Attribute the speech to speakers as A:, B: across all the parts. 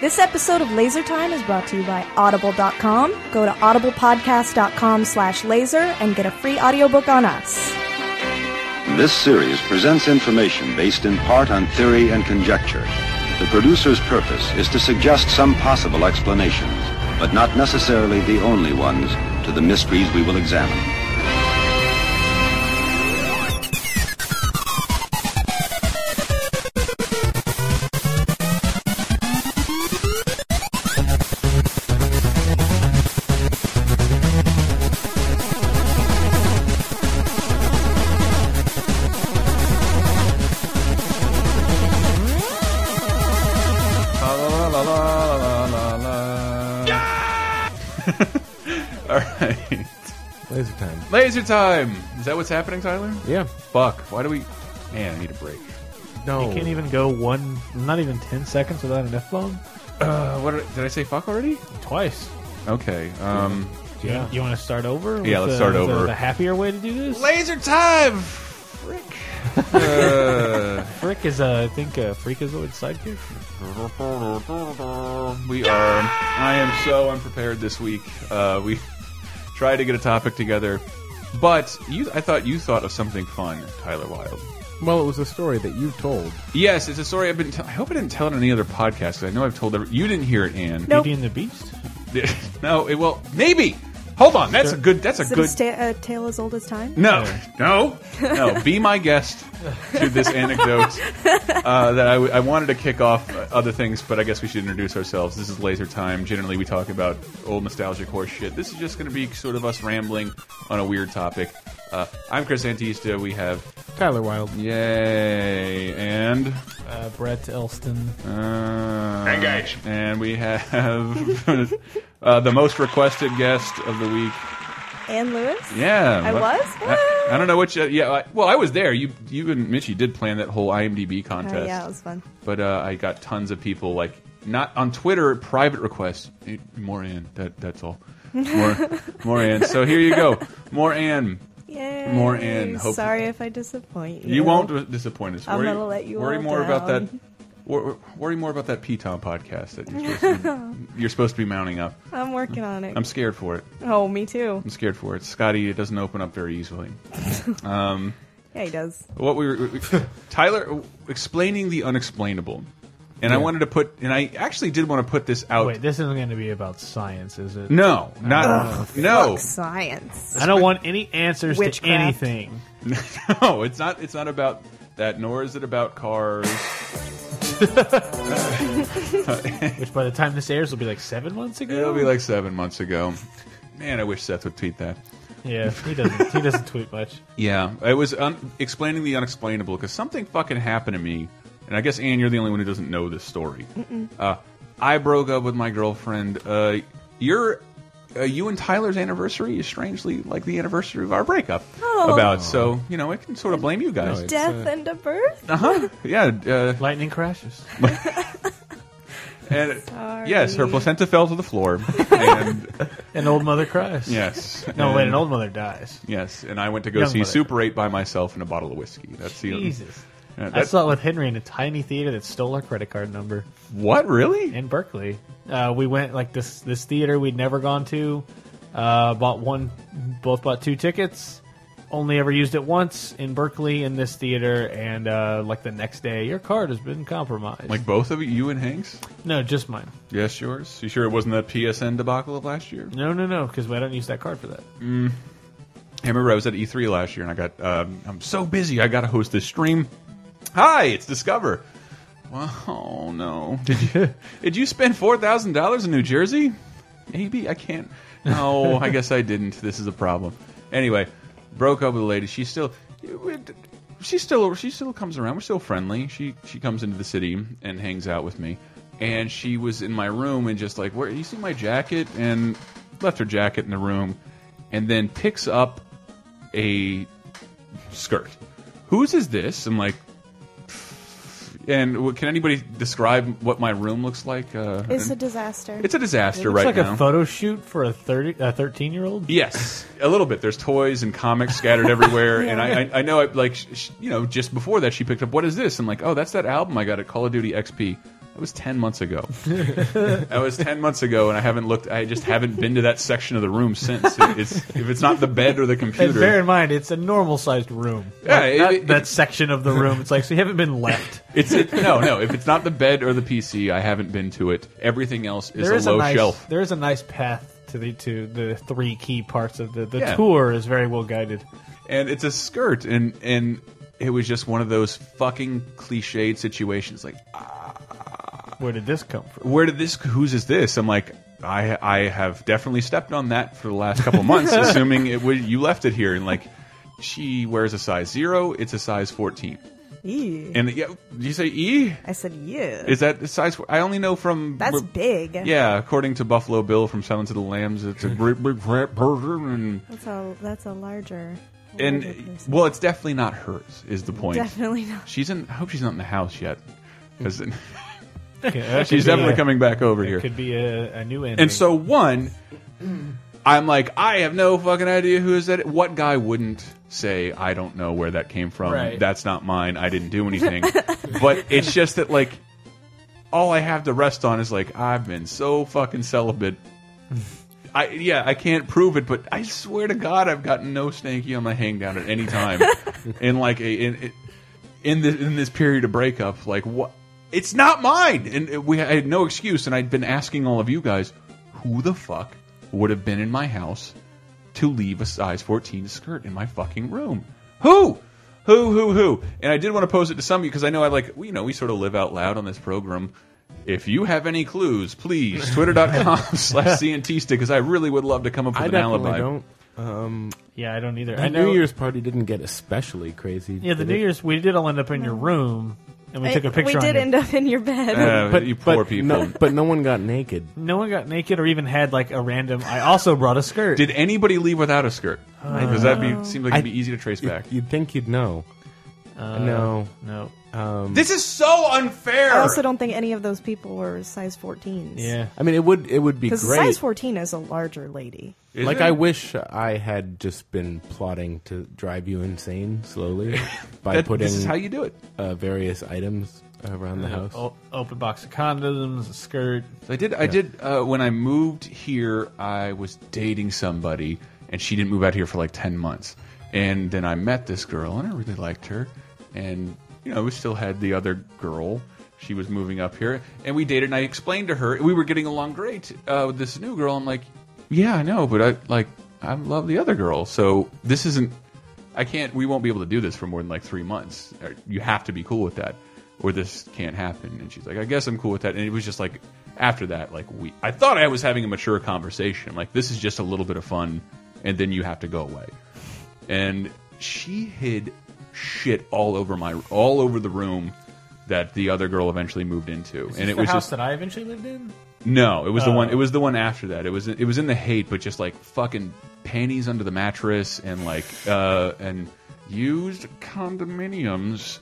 A: This episode of Laser Time is brought to you by Audible.com. Go to audiblepodcast.com slash laser and get a free audiobook on us.
B: This series presents information based in part on theory and conjecture. The producer's purpose is to suggest some possible explanations, but not necessarily the only ones, to the mysteries we will examine.
C: All right.
D: Laser time.
C: Laser time. Is that what's happening, Tyler?
D: Yeah.
C: Fuck. Why do we? Man, I need a break.
D: No.
E: You can't even go one, not even ten seconds without an F bomb
C: Uh, what did I- did I say? Fuck already?
E: twice.
C: Okay. Um,
E: Yeah. You, want to start over? with
C: Yeah, let's
E: the-
C: start
E: the-
C: over.
E: The happier way to do this.
C: laser time. Frick. Uh,
E: Frick is, uh, I think, uh, Freakazoid sidekick.
C: we are. I am so unprepared this week. Uh, we tried to get a topic together, but you. I thought you thought of something fun, Tyler Wilde.
D: Well, it was a story that you told.
C: Yes, it's a story I've been. T I hope I didn't tell it on any other podcast. 'cause I know I've told every You didn't hear it, Anne.
A: Nope.
E: Beauty and the Beast.
C: no, it will. Maybe. Hold on. That's a good. That's a
A: Is it
C: good.
A: a, sta- a tale as old as time?
C: no, no, no. Be my guest to this anecdote uh, that I, w- I wanted to kick off uh, other things, but I guess we should introduce ourselves. This is Laser Time. Generally, we talk about old nostalgic horse shit. This is just going to be sort of us rambling on a weird topic. Uh, I'm Chris Antista. We have
D: Tyler Wilde.
C: yay and.
E: Uh, Brett Elston.
C: Uh, Engage. And we have uh, the most requested guest of the week.
A: Anne Lewis?
C: Yeah,
A: I
C: but-
A: was?
C: I, I don't know what. You, yeah, I, well, I was there. You, you and Mitchie did plan that whole IMDb contest.
A: Oh, yeah, it was fun.
C: But uh, I got tons of people like not on Twitter private requests. Eh, More Ann. That that's all. More, more Ann. So here you go. More Ann.
A: Yay.
C: More Anne, hope-
A: Sorry if I disappoint you.
C: You won't disappoint us.
A: I'm
C: worry,
A: gonna let you
C: worry
A: all
C: more about that.
A: down.
C: wor- Worry more about that P Tom podcast that you're supposed, to, you're supposed to be mounting up.
A: I'm working on it.
C: I'm scared for it.
A: oh, me too.
C: I'm scared for it. Scotty, it doesn't open up very easily.
A: Yeah, he does.
C: What we were, we- Tyler explaining the unexplainable, and I wanted to put, and I actually did want to put this out.
E: Wait, this isn't going to be about science, is it?
C: no, not no,
A: Fuck science.
E: I don't want any answers to
A: Witchcraft.
E: anything.
C: no. It's not. It's not about that. Nor is it about cars.
E: Which by the time this airs will be like seven months ago.
C: It'll be like seven months ago. Man, I wish Seth would tweet that.
E: Yeah, he doesn't. he doesn't tweet much.
C: Yeah, it was un explaining the unexplainable because something fucking happened to me, and I guess Anne, you're the only one who doesn't know this story. Uh, I broke up with my girlfriend. Uh, your, uh, you and Tyler's anniversary is strangely like the anniversary of our breakup.
A: Oh.
C: About so you know I can sort of blame you guys.
D: it's,
A: Death and a birth?
C: uh huh. Yeah. Uh,
E: Lightning crashes.
C: and
A: Sorry.
C: yes, her placenta fell to the floor. and
E: An old mother cries.
C: yes.
E: No, wait,
C: and-
E: an old mother dies.
C: Yes, and I went to go
E: Young
C: see
E: mother.
C: Super Eight by myself and a bottle of whiskey. That's the
E: Jesus.
C: Yeah,
E: I
C: that-
E: saw it with Henry in a tiny theater that stole our credit card number.
C: what really?
E: in Berkeley. Uh, we went like this this theater we'd never gone to. Uh, bought one, both bought two tickets. Only ever used it once in Berkeley in this theater, and uh, like the next day, your card has been compromised.
C: Like both of you, you and Hanks?
E: no, just mine.
C: Yes, yours. You sure it wasn't that PSN debacle of last year?
E: No, no, no, because I don't use that card for that.
C: I remember I was at E3 last year and I got, um, I'm so busy, I got to host this stream. Hi, it's Discover. Well, oh no. Did you, did you spend $4,000 in New Jersey? Maybe. I can't. No, I guess I didn't. This is a problem. Anyway, broke up with a lady. She still. She still she still comes around. We're still friendly. She she comes into the city and hangs out with me. And she was in my room and just like, "Where you see my jacket?" and left her jacket in the room, and then picks up a skirt. Whose is this? I'm like, and w- can anybody describe what my room looks like? Uh,
A: It's a disaster.
C: it's a disaster
E: It's
C: right
E: like
C: now.
E: a photo shoot for a thirty, a thirteen year old.
C: yes, a little bit. There's toys and comics scattered everywhere, and I, I, I know. I, like, sh sh- you know, just before that, she picked up. What is this? I'm like, oh, that's that album I got at Call of Duty XP. That was ten months ago. that was ten months ago, and I haven't looked. I just haven't been to that section of the room since. It- it's if it's not the bed or the
E: And bear
C: computer,
E: in mind, it's a normal sized room.
C: Yeah,
E: Like,
C: it-
E: not
C: it-
E: that section of the room. It's like so you haven't been left.
C: it's it, no, no. If it's not the bed or the PC, I haven't been to it. Everything else is
E: There
C: a
E: is
C: low
E: nice,
C: shelf.
E: There is a nice path to the to the three key parts of the the
C: Yeah.
E: tour is very well guided.
C: and it's a skirt and and it was just one of those fucking cliched situations like
E: Where did this come from?
C: where did this whose is this i'm like i i have definitely stepped on that for the last couple months assuming it would you left it here and like she wears a size zero it's a size 14
A: Eee.
C: and yeah did you say e
A: I said, yeah.
C: is that a size i only know from
A: That's big.
C: yeah, according to Buffalo Bill from Silence of the Lambs, it's a great big fat burger, and
A: That's a, that's a larger. larger
C: and
A: person.
C: well, it's definitely not hers. Is the point?
A: Definitely not.
C: She's in. I hope she's not in the house yet, 'cause
E: Okay,
C: she's
E: that uh, could be
C: definitely
E: a-
C: coming back over here.
E: Could be a, a new ending.
C: And so one, I'm like, I have no fucking idea who is that. What guy wouldn't say, I don't know where that came from.
E: Right.
C: That's not mine. I didn't do anything. but it's just that like, all I have to rest on is like, I've been so fucking celibate. I yeah, I can't prove it, but I swear to God, I've gotten no stanky on my hang down at any time in like a in in this in this period of breakup. Like what? It's not mine, and it- we I had no excuse. And I'd been asking all of you guys, who the fuck would have been in my house to leave a size 14 skirt in my fucking room? Who? Who, who, who? And I did want to pose it to some of you because I know I like, we you know, we sort of live out loud on this program. If you have any clues, please, twitter.com slash CNTista because I really would love to come up with
D: I
C: an
D: definitely
C: alibi.
D: don't.
E: yeah, I don't either.
D: The
E: I know.
D: New Year's party didn't get especially crazy.
E: yeah, the
D: did
E: New
D: it?
E: Year's we did all end up in your room, and we
A: I-
E: took a picture.
A: Mm. We did
E: on your-
A: end up in your bed.
C: Uh,
D: But
C: you poor
D: but
C: people.
D: No, but no one got naked.
E: No one got naked or even had like a random. I also brought a skirt.
C: Did anybody leave without a skirt? Because that'd be seemed like it'd be easy to trace back.
D: You'd think you'd know.
E: Uh,
D: no.
E: no?
C: This is so unfair.
A: I also don't think any of those people were size 14s.
E: Yeah.
D: I mean, it would it would be
A: Because
D: great.
A: size 14 is a larger lady.
C: Is
D: like
C: it?
D: I wish I had just been plotting to drive you insane slowly by
C: That-
D: putting
C: this is how you do it.
D: uh, various items around
E: Uh,
D: the house.
E: O- open box of condoms, a skirt.
C: I did. I did. Uh, when I moved here, I was dating somebody, and she didn't move out here for like ten months. And then I met this girl, and I really liked her. And you know, we still had the other girl. She was moving up here, and we dated. And I explained to her we were getting along great uh, with this new girl. I'm like, yeah, I know, but I like I love the other girl, so this isn't I can't. We won't be able to do this for more than like three months. Or, You have to be cool with that, or this can't happen. And she's like, I guess I'm cool with that. And it was just like after that, like we. I thought I was having a mature conversation. I'm like this is just a little bit of fun, and then you have to go away. And she hid shit all over my all over the room that the other girl eventually moved into, and it
E: the
C: was
E: house
C: just
E: that I eventually lived in.
C: no, it was
D: Oh.
C: the one. It was the one after that. It was it was in the hate, but just like fucking panties under the mattress and like uh and used condominiums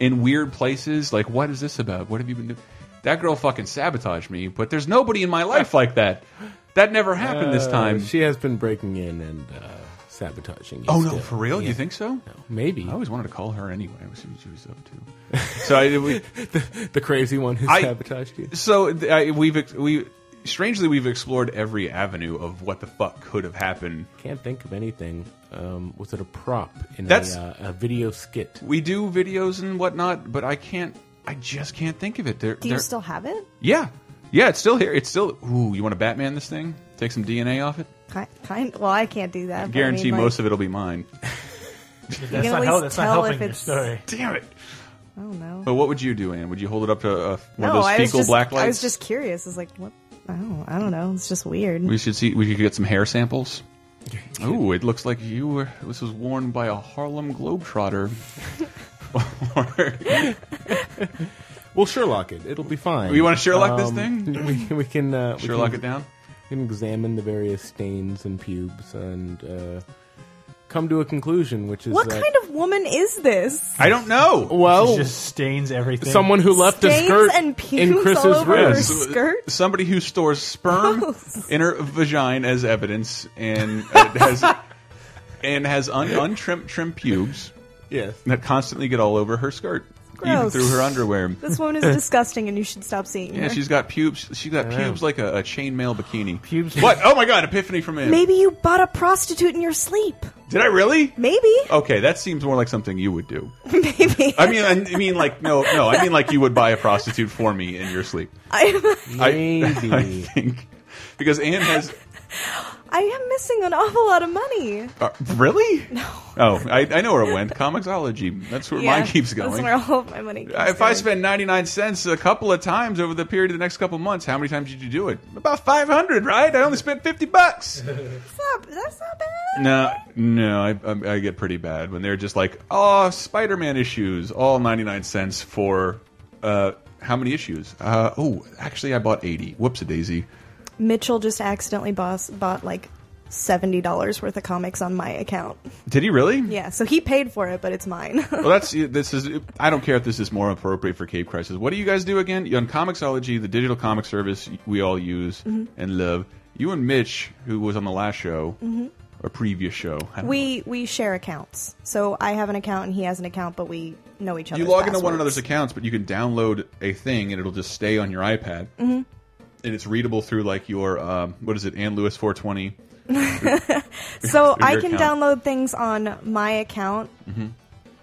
C: in weird places. Like, what is this about? What have you been doing? That girl fucking sabotaged me. But there's nobody in my life like that. That never happened this
D: Uh,
C: time.
D: she has been breaking in and uh, sabotaging. You
C: oh no,
D: still.
C: for real? Oh, You think so?
D: Maybe
C: I always wanted to call her anyway. I was see what she was up to. so I, we,
D: the crazy one who
C: I-
D: sabotaged you.
C: So th- I, we've ex- we strangely we've explored every avenue of what the fuck could have happened.
D: Can't think of anything. Um, was it a prop in
C: That's-
D: a, uh, a video skit?
C: We do videos and whatnot, but I can't. I just can't think of it. They're,
A: Do
C: they're-
A: you still have it?
C: Yeah, yeah. It's still here. It's still. Ooh, you want to Batman this thing? Take some DNA off it.
A: Kind, kind, well, I can't do that.
C: I
A: but
C: guarantee
A: I mean, like,
C: most of it'll be mine.
E: That's
A: can
E: not,
A: at
E: hel-
A: least
E: that's not
A: tell
E: helping
A: if
E: your
A: it's-
E: story.
C: Damn it!
A: I don't know.
C: But what would you do, Anne? Would you hold it up to uh,
A: no,
C: one of those
A: I was
C: fecal
A: just,
C: black lights?
A: I was just curious. It's like, what? I don't, I don't know. It's just weird.
C: We should see. We could get some hair samples. Ooh, it looks like you were. This was worn by a Harlem Globetrotter.
D: Well, Sherlock it. It'll be fine.
C: Oh, You wanna Sherlock this
D: Um,
C: thing?
D: We, we can uh, we
C: Sherlock
D: can-
C: it down.
D: can examine the various stains and pubes and uh, come to a conclusion, which is
A: what
D: that,
A: kind of woman is this?
C: I don't know.
E: She
D: well,
E: just stains everything.
D: someone who left a
A: Stains
D: skirt
A: and
D: in
A: pubes
D: Chris's
A: all over
D: room.
A: her skirt?
C: Somebody who stores sperm in her vagina as evidence and uh, has and has un, untrimmed trim pubes
D: Yes,
C: that constantly get all over her skirt. even
A: Gross.
C: through her underwear.
A: This woman is disgusting, and you should stop seeing
C: Yeah,
A: her.
C: she's got pubes. She got pubes like a, a chainmail bikini.
E: Pubes-
C: What? Oh my god! Epiphany from him.
A: Maybe you bought a prostitute in your sleep.
C: Did I really?
A: Maybe.
C: Okay, that seems more like something you would do.
A: Maybe.
C: Oh. I mean, I mean, like no, no. I mean, like you would buy a prostitute for me in your sleep.
A: I,
D: Maybe.
C: I think because Anne has
A: I am missing an awful lot of money.
C: uh, really. No. Oh, I, I know where it went. Comicsology. That's where mine keeps
A: That's
C: going. Uh,
A: where all of my money keeps
C: if I
A: going.
C: spend 99 cents a couple of times over the period of the next couple of months, how many times did you do it? About 500, right? I only spent 50 bucks.
A: That's not, that's not bad.
C: No, no, I, I, I get pretty bad when they're just like, oh, Spider Man issues, all 99 cents for uh, how many issues? Uh, oh, actually, I bought 80. Whoops a daisy.
A: Mitchell just accidentally boss, bought like $70 worth of comics on my account.
C: Did he really?
A: Yeah, so he paid for it, but it's mine.
C: Well, that's this is. I don't care if this is more appropriate for Cape Crisis. What do you guys do again? On Comixology, the digital comic service we all use
A: Mm-hmm.
C: and love. You and Mitch, who was on the last show or previous show, I don't know.
A: Mm-hmm. we we share accounts. So I have an account and he has an account, but we know each other.
C: you log into one another's accounts, but you can download a thing and it'll just stay on your iPad,
A: Mm-hmm.
C: and it's readable through like your um, what is it, Ann Lewis 420.
A: So
C: through
A: I
C: your
A: can
C: account. Mm-hmm.
A: download things on my account.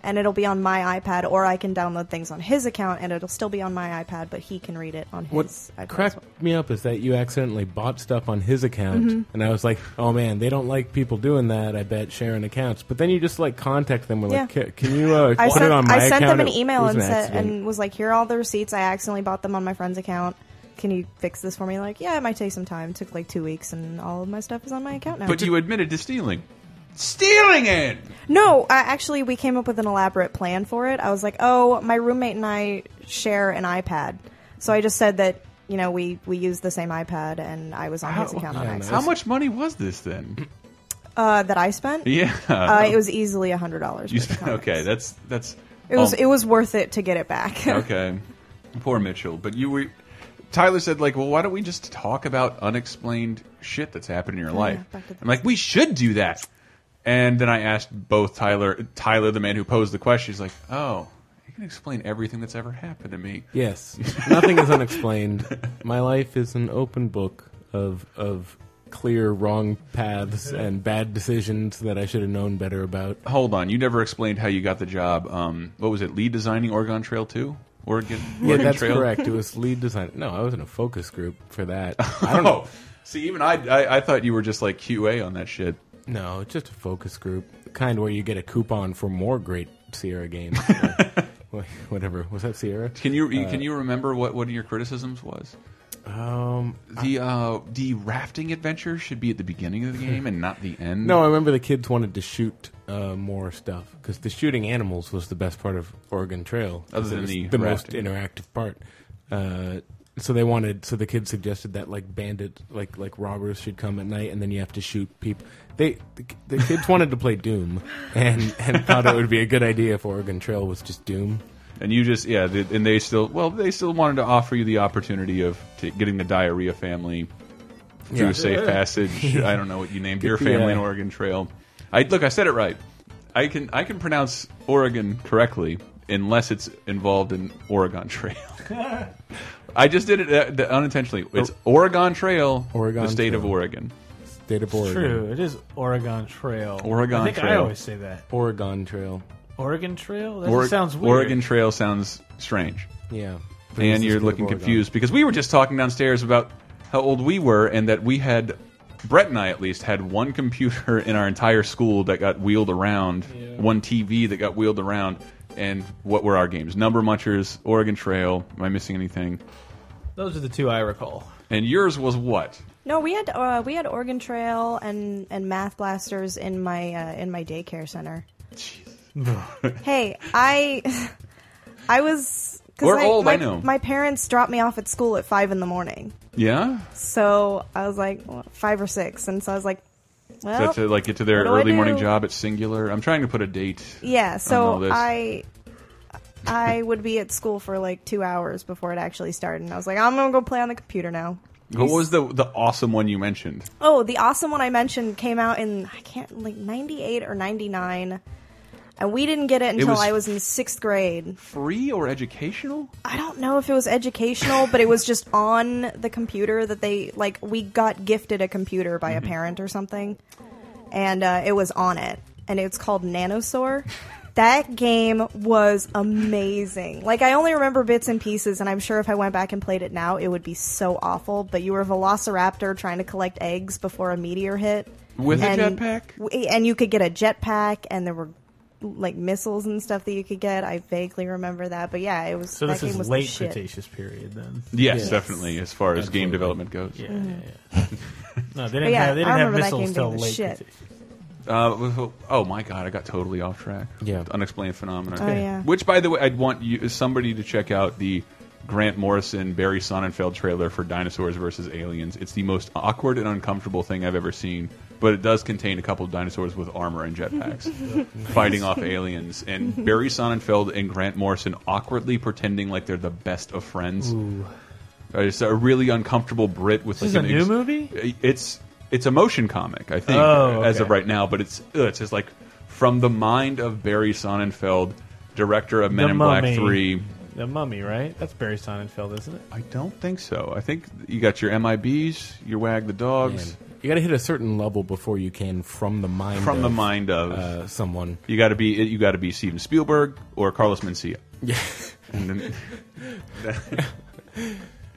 A: And it'll be on my iPad, or I can download things on his account, and it'll still be on my iPad, but he can read it on his
D: What
A: iPad. as
D: cracked
A: well.
D: me up is that you accidentally bought stuff on his account,
A: Mm-hmm.
D: and I was like, "Oh man, they don't like people doing that." I bet sharing accounts, but then you just like contact them with like,
A: Yeah.
D: "Ca- "Can you uh,
A: I
D: put
A: sent,
D: it on my
A: I sent
D: account?"
A: them an
D: It
A: email
D: was
A: and
D: an
A: said,
D: accident.
A: and was like, "Here are all the receipts. I accidentally bought them on my friend's account. Can you fix this for me?" Like, yeah, it might take some time. It took like two weeks, and all of my stuff is on my account now.
C: But you admitted to stealing, stealing it.
A: no, I, actually, we came up with an elaborate plan for it. I was like, "Oh, my roommate and I share an iPad," so I just said that you know we we use the same iPad, and I was on his
C: How-
A: account on
D: yeah,
A: accident.
C: How much money was this then?
A: Uh, that I spent.
C: Yeah,
A: Uh, it was easily a hundred dollars.
C: You spent- okay. That's that's
A: It was
C: um,
A: it was worth it to get it back.
C: okay. Poor Mitchell. But you were. Tyler said, like, well, why don't we just talk about unexplained shit that's happened in your life?
A: back to the-
C: I'm like, we should do that. And then I asked both Tyler, Tyler, the man who posed the question, he's like, oh, you can explain everything that's ever happened to me.
D: Yes, nothing is unexplained. My life is an open book of of clear wrong paths and bad decisions that I should have known better about.
C: Hold on, you never explained how you got the job. Um, what was it? Lead designing Oregon Trail two? Oregon,
D: Yeah,
C: Oregon
D: that's
C: Trail?
D: correct. It was lead design. No, I was in a focus group for that. I
C: I
D: don't know.
C: Oh, See, even I, I, I thought you were just like QA on that shit.
D: No, it's just a focus group, the kind where you get a coupon for more great Sierra games. Like, Whatever was that Sierra?
C: Can you can you remember what one of your criticisms was?
D: Um,
C: The uh, the rafting adventure should be at the beginning of the game and not the end.
D: no, I remember the kids wanted to shoot uh, more stuff because the shooting animals was the best part of Oregon Trail. 'cause
C: Other
D: it
C: than
D: was
C: the
D: the most
C: rafting.
D: interactive part. Uh, so they wanted. So the kids suggested that like bandit, like like robbers should come at night, and then you have to shoot people. They the, the kids wanted to play Doom, and and thought it would be a good idea if Oregon Trail was just Doom.
C: and you just yeah, th- and they still well, they still wanted to offer you the opportunity of t- getting the diarrhea family through
D: Yeah.
C: safe passage. I don't know what you named your
D: Yeah.
C: family in Oregon Trail. I look, I said it right. I can I can pronounce Oregon correctly unless it's involved in Oregon Trail. I just did it uh, th- unintentionally. It's Oregon Trail,
D: Oh. Oregon
C: the state
D: Trail.
C: of Oregon.
D: State of Oregon.
E: True, it is Oregon Trail.
C: Oregon
E: I think I
C: Trail.
E: always say that.
D: Oregon Trail.
E: Oregon Trail? That
C: Ore-
E: sounds weird.
C: Oregon Trail sounds strange.
D: Yeah.
C: and you're looking confused because we were just talking downstairs about how old we were and that we had Brett and I at least had one computer in our entire school that got wheeled around, one TV that got wheeled around, and what were our games? Number Munchers, Oregon Trail. Am I missing anything?
E: Those are the two I recall.
C: And yours was what?
A: No, we had uh, we had Oregon Trail and and Math Blasters in my uh, in my daycare center. hey, I I was 'cause
C: We're
A: my,
C: old,
A: my,
C: I know.
A: My parents dropped me off at school at five in the morning,
C: Yeah,
A: so I was like well, five or six, and so I was like,
C: so
A: well,
C: to like get to their
A: what do I
C: early morning
A: do?
C: job at Singular. I'm trying to put a date.
A: yeah.
C: all
A: So
C: this.
A: I. I would be at school for like two hours before it actually started, and I was like, "I'm gonna go play on the computer now."
C: What was the the awesome one you mentioned?
A: Oh, the awesome one I mentioned came out in I can't like ninety eight or ninety nine, and we didn't get it until
C: was-
A: I was in sixth grade.
C: Free or educational?
A: I don't know if it was educational, but it was just on the computer that they like. We got gifted a computer by
C: Mm-hmm.
A: a parent or something, and uh, it was on it, and it's called Nanosaur. That game was amazing. Like I only remember bits and pieces, and I'm sure if I went back and played it now, it would be so awful. But you were a Velociraptor trying to collect eggs before a meteor hit
C: With a
A: and-
C: jetpack?
A: w- and you could get a jetpack, and there were like missiles and stuff that you could get. I vaguely remember that, but yeah, it was.
E: So
A: that
E: this
A: game
E: is
A: was
E: late
A: the shit. Mm-hmm.
E: Cretaceous period then.
C: Yes,
D: Yes.
C: definitely. As far as game development goes,
E: Yeah, yeah, yeah. no, they didn't
A: yeah,
E: have they
A: I
E: didn't have
A: remember that game
E: missiles
A: being
E: till
A: the
E: late.
A: shit.
E: Cretaceous.
C: Uh, oh my god, I got totally off track.
D: Yeah.
C: unexplained phenomena.
A: Oh, yeah.
C: Which, by the way, I'd want you somebody to check out the Grant Morrison Barry Sonnenfeld trailer for Dinosaurs versus Aliens. It's the most awkward and uncomfortable thing I've ever seen, but it does contain a couple of dinosaurs with armor and jetpacks fighting off aliens. And Barry Sonnenfeld and Grant Morrison awkwardly pretending like they're the best of friends. Uh, It's a really uncomfortable Brit with
E: This
C: like
E: is
C: an
E: a new
C: ex-
E: movie?
C: It's it's a motion comic, I think,
E: Oh,
C: as
E: okay.
C: of right now. But it's ugh, it's just like from the mind of Barry Sonnenfeld, director of Men
E: The
C: in Black
E: Mummy.
C: Three.
E: The Mummy, right? That's Barry Sonnenfeld, isn't it?
C: I don't think so. I think you got your MIBs, your Wag the Dogs,
D: And you got to hit a certain level before you can from the mind
C: from the
D: of,
C: mind of.
D: uh, someone.
C: you got to be you got to be Steven Spielberg or Carlos Mencia. Yeah. And then,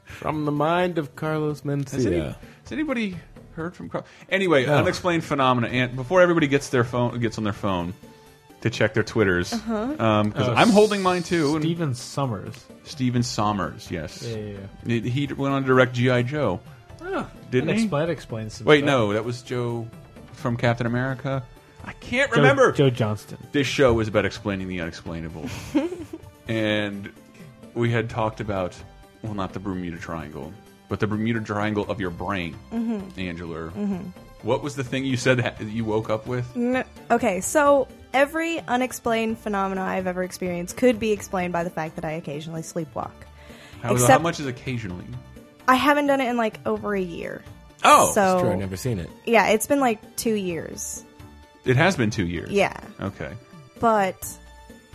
D: From the mind of Carlos
C: Has, any-
D: Mencia.
C: has anybody heard from Carl? Anyway, unexplained phenomena. And before everybody gets their phone, gets on their phone to check their twitters, because I'm holding mine too. and
E: Uh, Oh, Steven Summers.
C: Steven Sommers, yes,
E: Yeah, yeah,
C: He- he went on to direct GI Joe. Didn't
E: that
C: he?
E: Expl- that explains some
C: Wait,
E: stuff.
C: no, that was Joe from Captain America. I can't
E: Joe-
C: remember.
E: Joe Johnston.
C: This show is about explaining the unexplainable, and we had talked about well, not the Bermuda Triangle, but the Bermuda Triangle of your brain,
A: Mm-hmm.
C: Angela. What was the thing you said ha- that you woke up with?
A: N- Okay, so every unexplained phenomena I've ever experienced could be explained by the fact that I occasionally sleepwalk.
C: How, how
A: Except-
C: much is occasionally?
A: I haven't done it in like over a year.
C: Oh,
A: so
D: It's true, I've never seen it.
A: yeah, it's been like two years.
C: it has been two years.
A: Yeah,
C: Okay.
A: but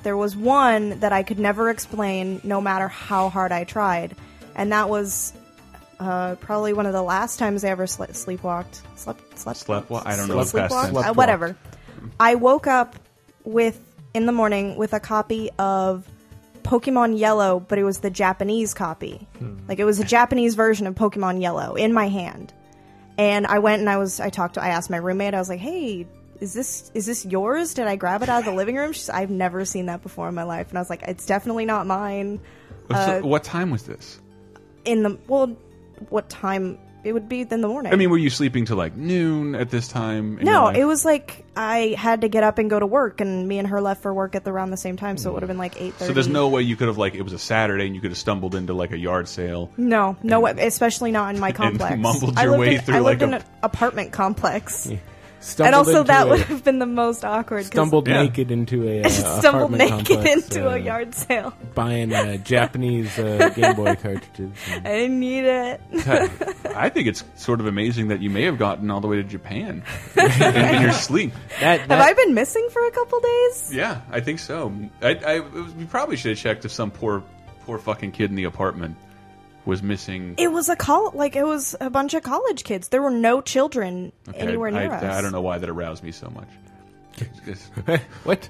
A: there was one that I could never explain, no matter how hard I tried, and that was uh, probably one of the last times I ever sle- sleepwalked. Slept, slept,
C: Slept- well, I don't know
A: slept-
C: what past
A: sleepwalked?
C: tense.
A: Uh, whatever. I woke up with in the morning with a copy of Pokemon Yellow, but it was the Japanese copy.
C: Hmm.
A: Like it was a Japanese version of Pokemon Yellow in my hand. And I went and I was I talked to I asked my roommate, I was like, Hey, is this is this yours? Did I grab it out of the living room? She's I've never seen that before in my life. And I was like, It's definitely not mine. Uh,
C: So what time was this?
A: In the well what time it would be in the morning.
C: I mean, were you sleeping till like noon at this time? in your
A: No,
C: life?
A: it was like I had to get up and go to work, and me and her left for work at the, around the same time, so it would have been like eight thirty.
C: So there's no way you could have like it was a Saturday and you could have stumbled into like a yard sale.
A: no, no, way- especially not in my complex.
C: mumbled
A: I
C: your
A: lived
C: way
A: in,
C: through,
A: I lived
C: like,
A: in
C: a-
A: an apartment complex,
D: Stumbled
A: and also
D: into
A: that
D: a-
A: would have been the most awkward. 'cause
D: stumbled
C: Yeah.
D: naked into a uh,
A: I stumbled
D: apartment
A: naked
D: complex,
A: into
D: uh,
A: a yard sale.
D: buying uh, Japanese uh, Game Boy cartridges. and-
A: I didn't need it.
C: I think it's sort of amazing that you may have gotten all the way to Japan in, in your sleep.
D: That,
A: have
D: that-
A: I been missing for a couple days?
C: Yeah, I think so. I, I it was, we probably should have checked if some poor, poor fucking kid in the apartment was missing.
A: It was a col like it was a bunch of college kids. There were no children
C: Okay,
A: anywhere
C: I,
A: near us.
C: I, I don't know why that aroused me so much. It's-
D: what?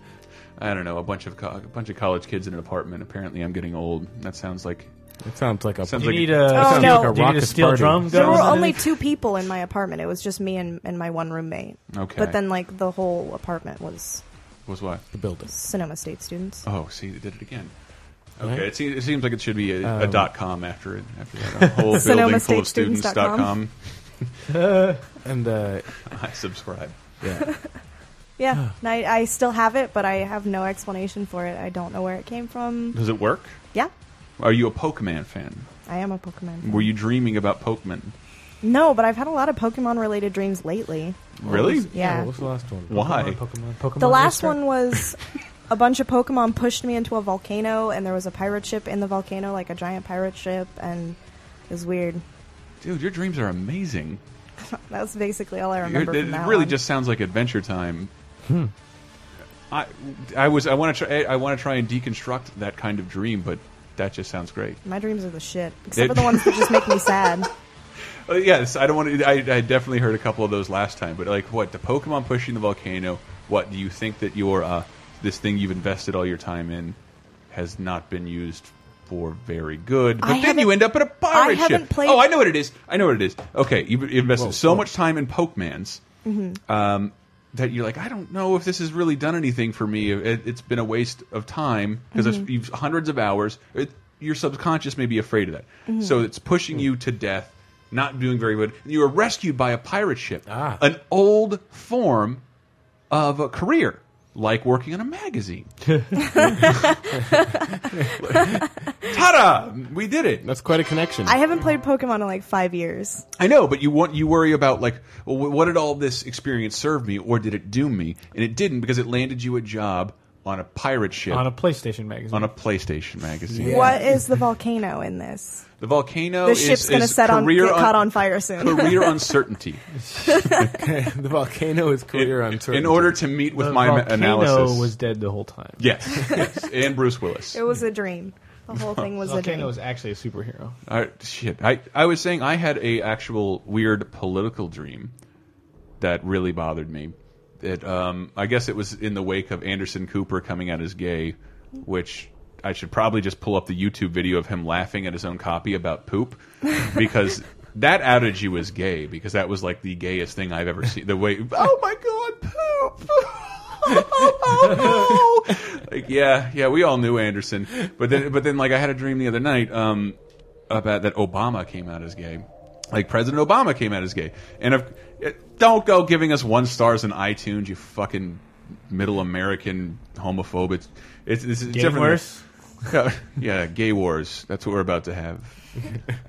C: I don't know. A bunch of co a bunch of college kids in an apartment. Apparently, I'm getting old. That sounds like
D: It sounds like a.
C: Sounds
E: Do
C: like
E: you need
C: a-
E: a,
A: sounds
E: steel-
A: like a
E: do you need a
D: raucous
E: steel
D: party.
E: drum?
A: There
E: going
A: were
E: in
A: only
E: it?
A: two people in my apartment. It was just me and, and my one roommate.
C: Okay.
A: But then, like, the whole apartment was
C: was what?
D: the building.
A: Sonoma State students.
C: Oh, see, they did it again. Okay,
D: Right?
C: it, seems, it seems like it should be a, a dot com after it. After that, a whole building full of students dot com.
A: SonomaStateStudents.com.
D: And uh,
C: I subscribe.
D: yeah,
A: Yeah. and I, I still have it, but I have no explanation for it. I don't know where it came from.
C: Does it work?
A: Yeah,
C: Are you a Pokemon fan?
A: I am a Pokemon. fan.
C: Were you dreaming about Pokemon?
A: No, but I've had a lot of Pokemon related dreams lately.
C: Really?
A: Yeah.
D: What was the last one?
C: Why?
D: Pokemon.
E: Pokemon
A: The last
E: Restart?
A: one was a bunch of Pokemon pushed me into a volcano, and there was a pirate ship in the volcano, like a giant pirate ship, and it was weird.
C: Dude, your dreams are amazing.
A: That's basically all I
C: You're-
A: remember.
C: It
A: from that
C: really
A: one.
C: just sounds like Adventure Time. I, I was. I want to try. I want to try and deconstruct that kind of dream, but that just sounds great.
A: My dreams are the shit, except
C: It-
A: for the ones that just make me sad.
C: Uh, yes, I don't want to. I, I definitely heard a couple of those last time, but like what the Pokemon pushing the volcano. What do you think that your uh, this thing you've invested all your time in has not been used for very good? But then you
A: haven't-
C: end up in a pirate
A: I haven't
C: ship.
A: played-
C: Oh, I know what it is. I know what it is. Okay, you have invested so much time in Pokemans. Um, that you're like, I don't know if this has really done anything for me. It, it's been a waste of time because you've hundreds of hours. It, your subconscious may be afraid of that, so it's pushing you to death, not doing very good. You are rescued by a pirate ship,
D: Ah.
C: an old form of a career, like working on a magazine. Ta-da! We did it.
D: That's quite a connection.
A: I haven't played Pokemon in like five years.
C: I know, but you want you worry about like, well, wh- what did all this experience serve me, or did it doom me? And it didn't because it landed you a job on a pirate ship
E: on a PlayStation magazine.
C: on a PlayStation magazine.
A: What is the volcano in this?
C: The volcano
A: The
C: Oh, is,
A: ship's gonna
C: is
A: set on
C: career
A: get caught on fire soon.
C: career uncertainty.
D: the volcano is career on
C: In order to meet with
E: the
C: my ma-
E: volcano
C: analysis,
E: was dead the whole time.
C: yes, yes, and Bruce Willis.
A: It was a dream. The whole thing was a dream.
E: volcano is actually a superhero.
C: I, shit, I I was saying I had a actual weird political dream that really bothered me. That um, I guess it was in the wake of Anderson Cooper coming out as gay, which I should probably just pull up the YouTube video of him laughing at his own copy about poop because. That outed you as gay because that was like the gayest thing I've ever seen. The way, oh my god, poop! oh, no! Like, yeah, yeah, we all knew Anderson, but then, but then, like, I had a dream the other night. Um, about that Obama came out as gay. Like President Obama came out as gay. And if, it- don't go giving us one stars in iTunes, you fucking middle American homophobe. It's, it's, it's
E: Getting
C: different.
E: worse.
C: yeah, gay wars. That's what we're about to have.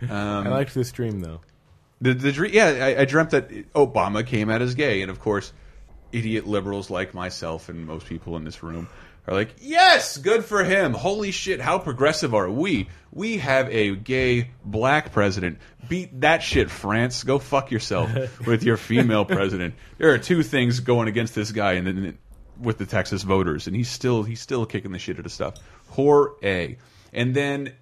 D: I
C: um,
D: liked this dream though.
C: The, the dream, yeah, I, I dreamt that Obama came out as gay, and of course, idiot liberals like myself and most people in this room are like, "Yes, good for him! Holy shit, how progressive are we? We have a gay black president. Beat that shit, France. Go fuck yourself with your female president. There are two things going against this guy, and then with the Texas voters, and he's still he's still kicking the shit out of stuff. Whore A, and then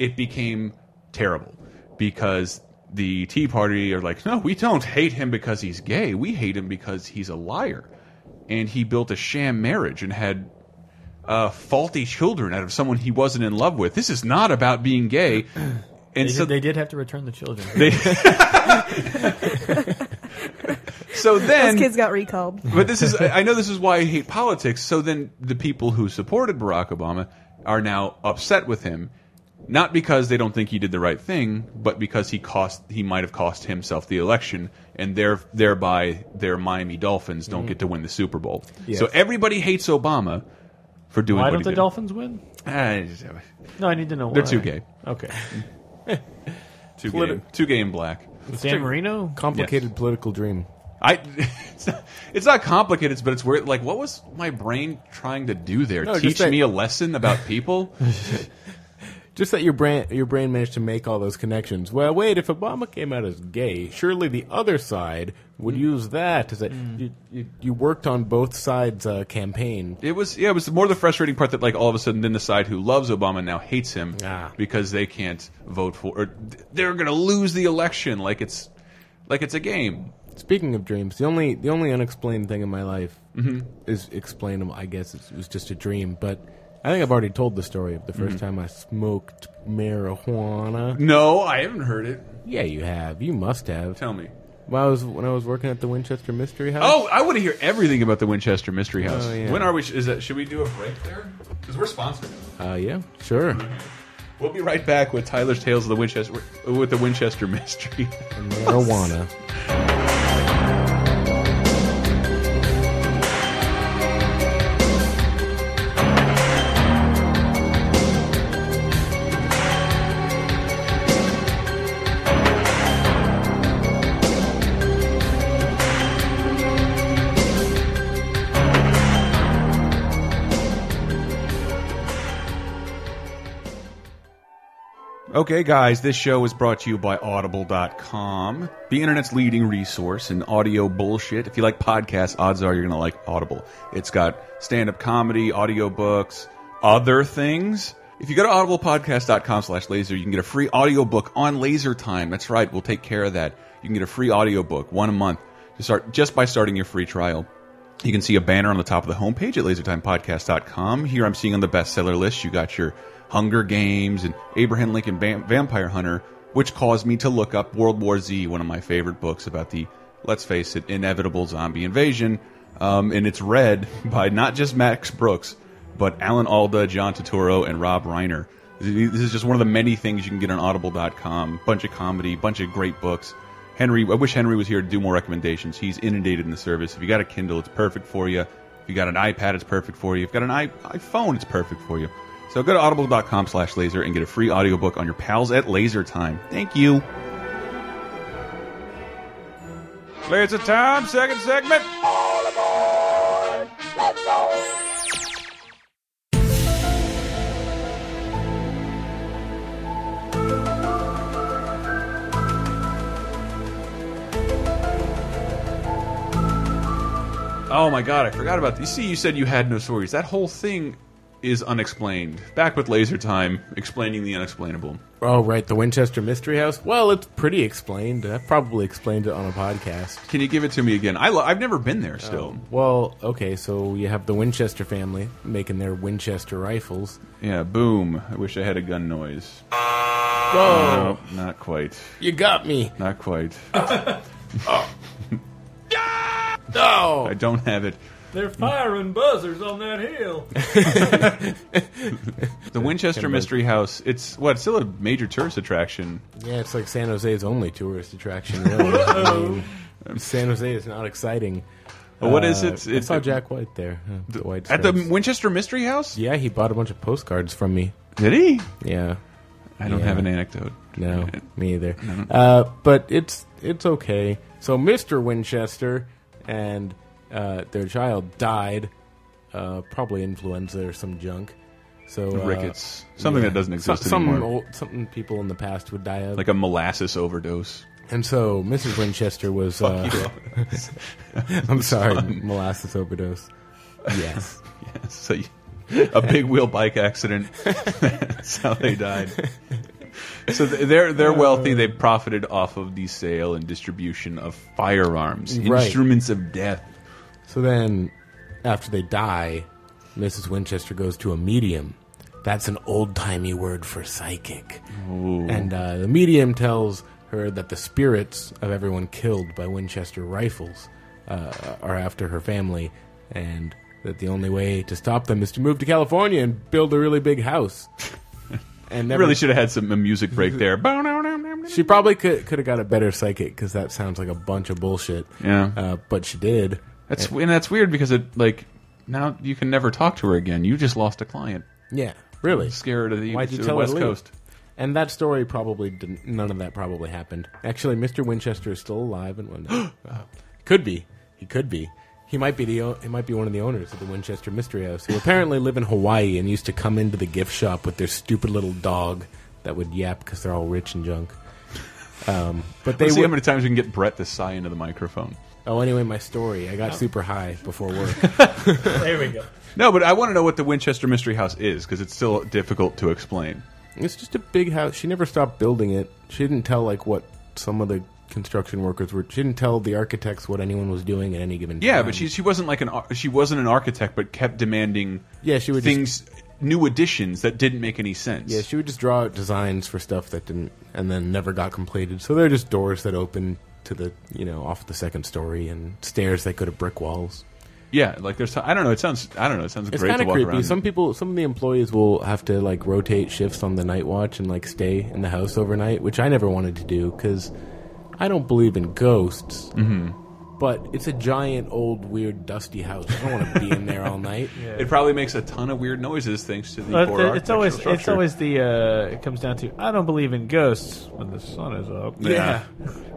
C: it became terrible because the Tea Party are like, no, we don't hate him because he's gay. We hate him because he's a liar. And he built a sham marriage and had uh, faulty children out of someone he wasn't in love with. This is not about being gay. And
E: They,
C: so
E: did, they did have to return the children.
C: so then
A: Those kids got recalled.
C: but this is I I know this is why I hate politics. So then the people who supported Barack Obama are now upset with him, not because they don't think he did the right thing, but because he cost he might have cost himself the election, and there thereby their Miami Dolphins
E: Mm-hmm.
C: don't get to win the Super Bowl. So everybody hates Obama for doing
E: Why
C: what
E: don't
C: he
E: the
C: did.
E: Dolphins win?
C: Ah,
E: No, I need to know.
C: They're
E: why.
C: too gay.
E: Okay.
C: too
D: Politi-
C: gay, too gay and black.
E: San Marino.
D: Complicated political dream.
C: I, it's, not, it's not complicated, but it's weird. Like, what was my brain trying to do there?
D: No, just
C: Teach
D: that-
C: me a lesson about people?
D: Just that your brain your brain managed to make all those connections. Well, wait, if Obama came out as gay, surely the other side
C: Mm.
D: would use that to say you, you, you worked on both sides' uh, campaign.
C: it was yeah, it was more the frustrating part that like all of a sudden then the side who loves Obama now hates him
D: Ah.
C: because they can't vote for or th- they're going to lose the election like it's like it's a game.
D: Speaking of dreams, the only the only unexplained thing in my life
C: Mm-hmm.
D: is explainable. I guess it's, it was just a dream, but I think I've already told the story of the 1st
C: Mm-hmm.
D: time I smoked marijuana.
C: No, I haven't heard it.
D: Yeah, you have. You must have.
C: Tell me.
D: When I was when I was working at the Winchester Mystery House.
C: Oh, I want to hear everything about the Winchester Mystery House.
D: Oh, yeah.
C: When are we? Is that should we do a break there? Because we're sponsored.
D: uh, yeah, sure.
C: We'll be right back with Tyler's Tales of the Winchester with the Winchester Mystery.
D: Marijuana.
C: Okay, guys, this show is brought to you by Audible.com, the internet's leading resource in audio bullshit. If you like podcasts, odds are you're going to like Audible. It's got stand up comedy, audiobooks, other things. If you go to audiblepodcast.com slash laser, you can get a free audiobook on laser time. That's right, we'll take care of that. You can get a free audiobook, one a month, to start just by starting your free trial. You can see a banner on the top of the homepage at lasertimepodcast.com. Here I'm seeing on the bestseller list, you got your Hunger Games and Abraham Lincoln Vam- Vampire Hunter, which caused me to look up World War Z, one of my favorite books about the, let's face it, inevitable zombie invasion. Um, and it's read by not just Max Brooks, but Alan Alda, John Turturro, and Rob Reiner. This is just one of the many things you can get on audible.com. Bunch of comedy, bunch of great books. Henry, I wish Henry was here to do more recommendations. He's inundated in the service. If you got a Kindle, it's perfect for you. If you got an iPad, it's perfect for you. If you got an i- iPhone, it's perfect for you. So go to audible.com slash laser and get a free audiobook on your pals at laser time. Thank you. Laser time, second segment. Oh my god, I forgot about this. You see, you said you had no stories. That whole thing is unexplained. Back with laser time, explaining the unexplainable.
D: Oh, right, the Winchester Mystery House. Well, it's pretty explained. I probably explained it on a podcast.
C: Can you give it to me again? I lo I've never been there still.
D: Well, okay, so you have the Winchester family making their Winchester rifles.
C: Yeah, boom. I wish I had a gun noise.
D: Oh,
C: Nope, not quite.
D: you got me.
C: Not quite.
D: No.
C: I don't have it.
E: They're firing buzzers on that hill.
C: The Winchester
D: Timber.
C: Mystery House. It's what? It's still a major tourist attraction.
D: Yeah, it's like San Jose's only tourist attraction. Really. I mean, San Jose is not exciting.
C: But what is it?
D: Uh, I
C: It's-
D: saw Jack White there. uh, The White
C: at the
D: Stripes.
C: Winchester Mystery House.
D: yeah, he bought a bunch of postcards from me.
C: Did he?
D: Yeah,
C: I don't
D: Yeah.
C: have an anecdote.
D: no, me either. Uh, but it's it's okay. So Mr. Winchester and uh, their child died, uh, probably influenza or some junk. So uh,
C: Rickets. Something
D: yeah.
C: that doesn't
D: So-
C: exist
D: some
C: anymore.
D: Old, something people in the past would die of.
C: like a molasses overdose.
D: and so Mrs. Winchester was. uh, I'm sorry, molasses overdose. Yes.
C: so you, a big wheel bike accident. That's how they died. So th- they're
D: Uh,
C: they're wealthy. They profited off of the sale and distribution of firearms,
D: Right.
C: instruments of death.
D: So then, after they die, Mrs. Winchester goes to a medium. That's an old timey word for psychic. And uh, the medium tells her that the spirits of everyone killed by Winchester rifles uh, are after her family, and that the only way to stop them is to move to California and build a really big house. And never,
C: Really should have had some a music break there.
D: she probably could could have got a better psychic because that sounds like a bunch of bullshit.
C: Yeah.
D: uh, but she did.
C: That's and that's weird because it like now you can never talk to her again. You just lost a client.
D: Yeah, really.
C: Scare her to the,
D: Why'd
C: to
D: you
C: the
D: tell her
C: West
D: to leave?
C: Coast.
D: And that story probably didn't. None of that probably happened. Actually, Mr. Winchester is still alive, and one Wow. could be. He could be. He might be the. o- He might be one of the owners of the Winchester Mystery House, who apparently live in Hawaii and used to come into the gift shop with their stupid little dog that would yap because they're all rich and junk. Um, but they
C: Let's see
D: were.
C: how many times we can get Brett to sigh into the microphone.
D: oh, anyway, my story. I
C: Oh.
D: got super high before work.
E: there we go.
C: No, but I want to know what the Winchester Mystery House is because it's still difficult to explain.
D: It's just a big house. She never stopped building it. She didn't tell like what some of the construction workers were. She didn't tell the architects what anyone was doing at any given time.
C: Yeah, but she she wasn't like an ar- she wasn't an architect, but kept demanding
D: Yeah, she would
C: things new additions that didn't make any sense.
D: yeah she would just draw out designs for stuff that didn't and then never got completed. So they're just doors that open to the you know off the second story and stairs that go to brick walls.
C: yeah, like there's I don't know. It sounds I don't know. It sounds
D: It's
C: great
D: kind
C: to
D: of
C: walk
D: creepy.
C: around.
D: Some people, some of the employees will have to like rotate shifts on the night watch and like stay in the house overnight, which I never wanted to do because I don't believe in ghosts. Mm-hmm. But it's a giant, old, weird, dusty house. I don't want to be in there all night.
C: it probably makes a ton of weird noises thanks to the.
E: But
C: poor
E: the- it's
C: architectural
E: always it's
C: structure.
E: always the uh, it comes down to I don't believe in ghosts when the sun is up.
C: Yeah.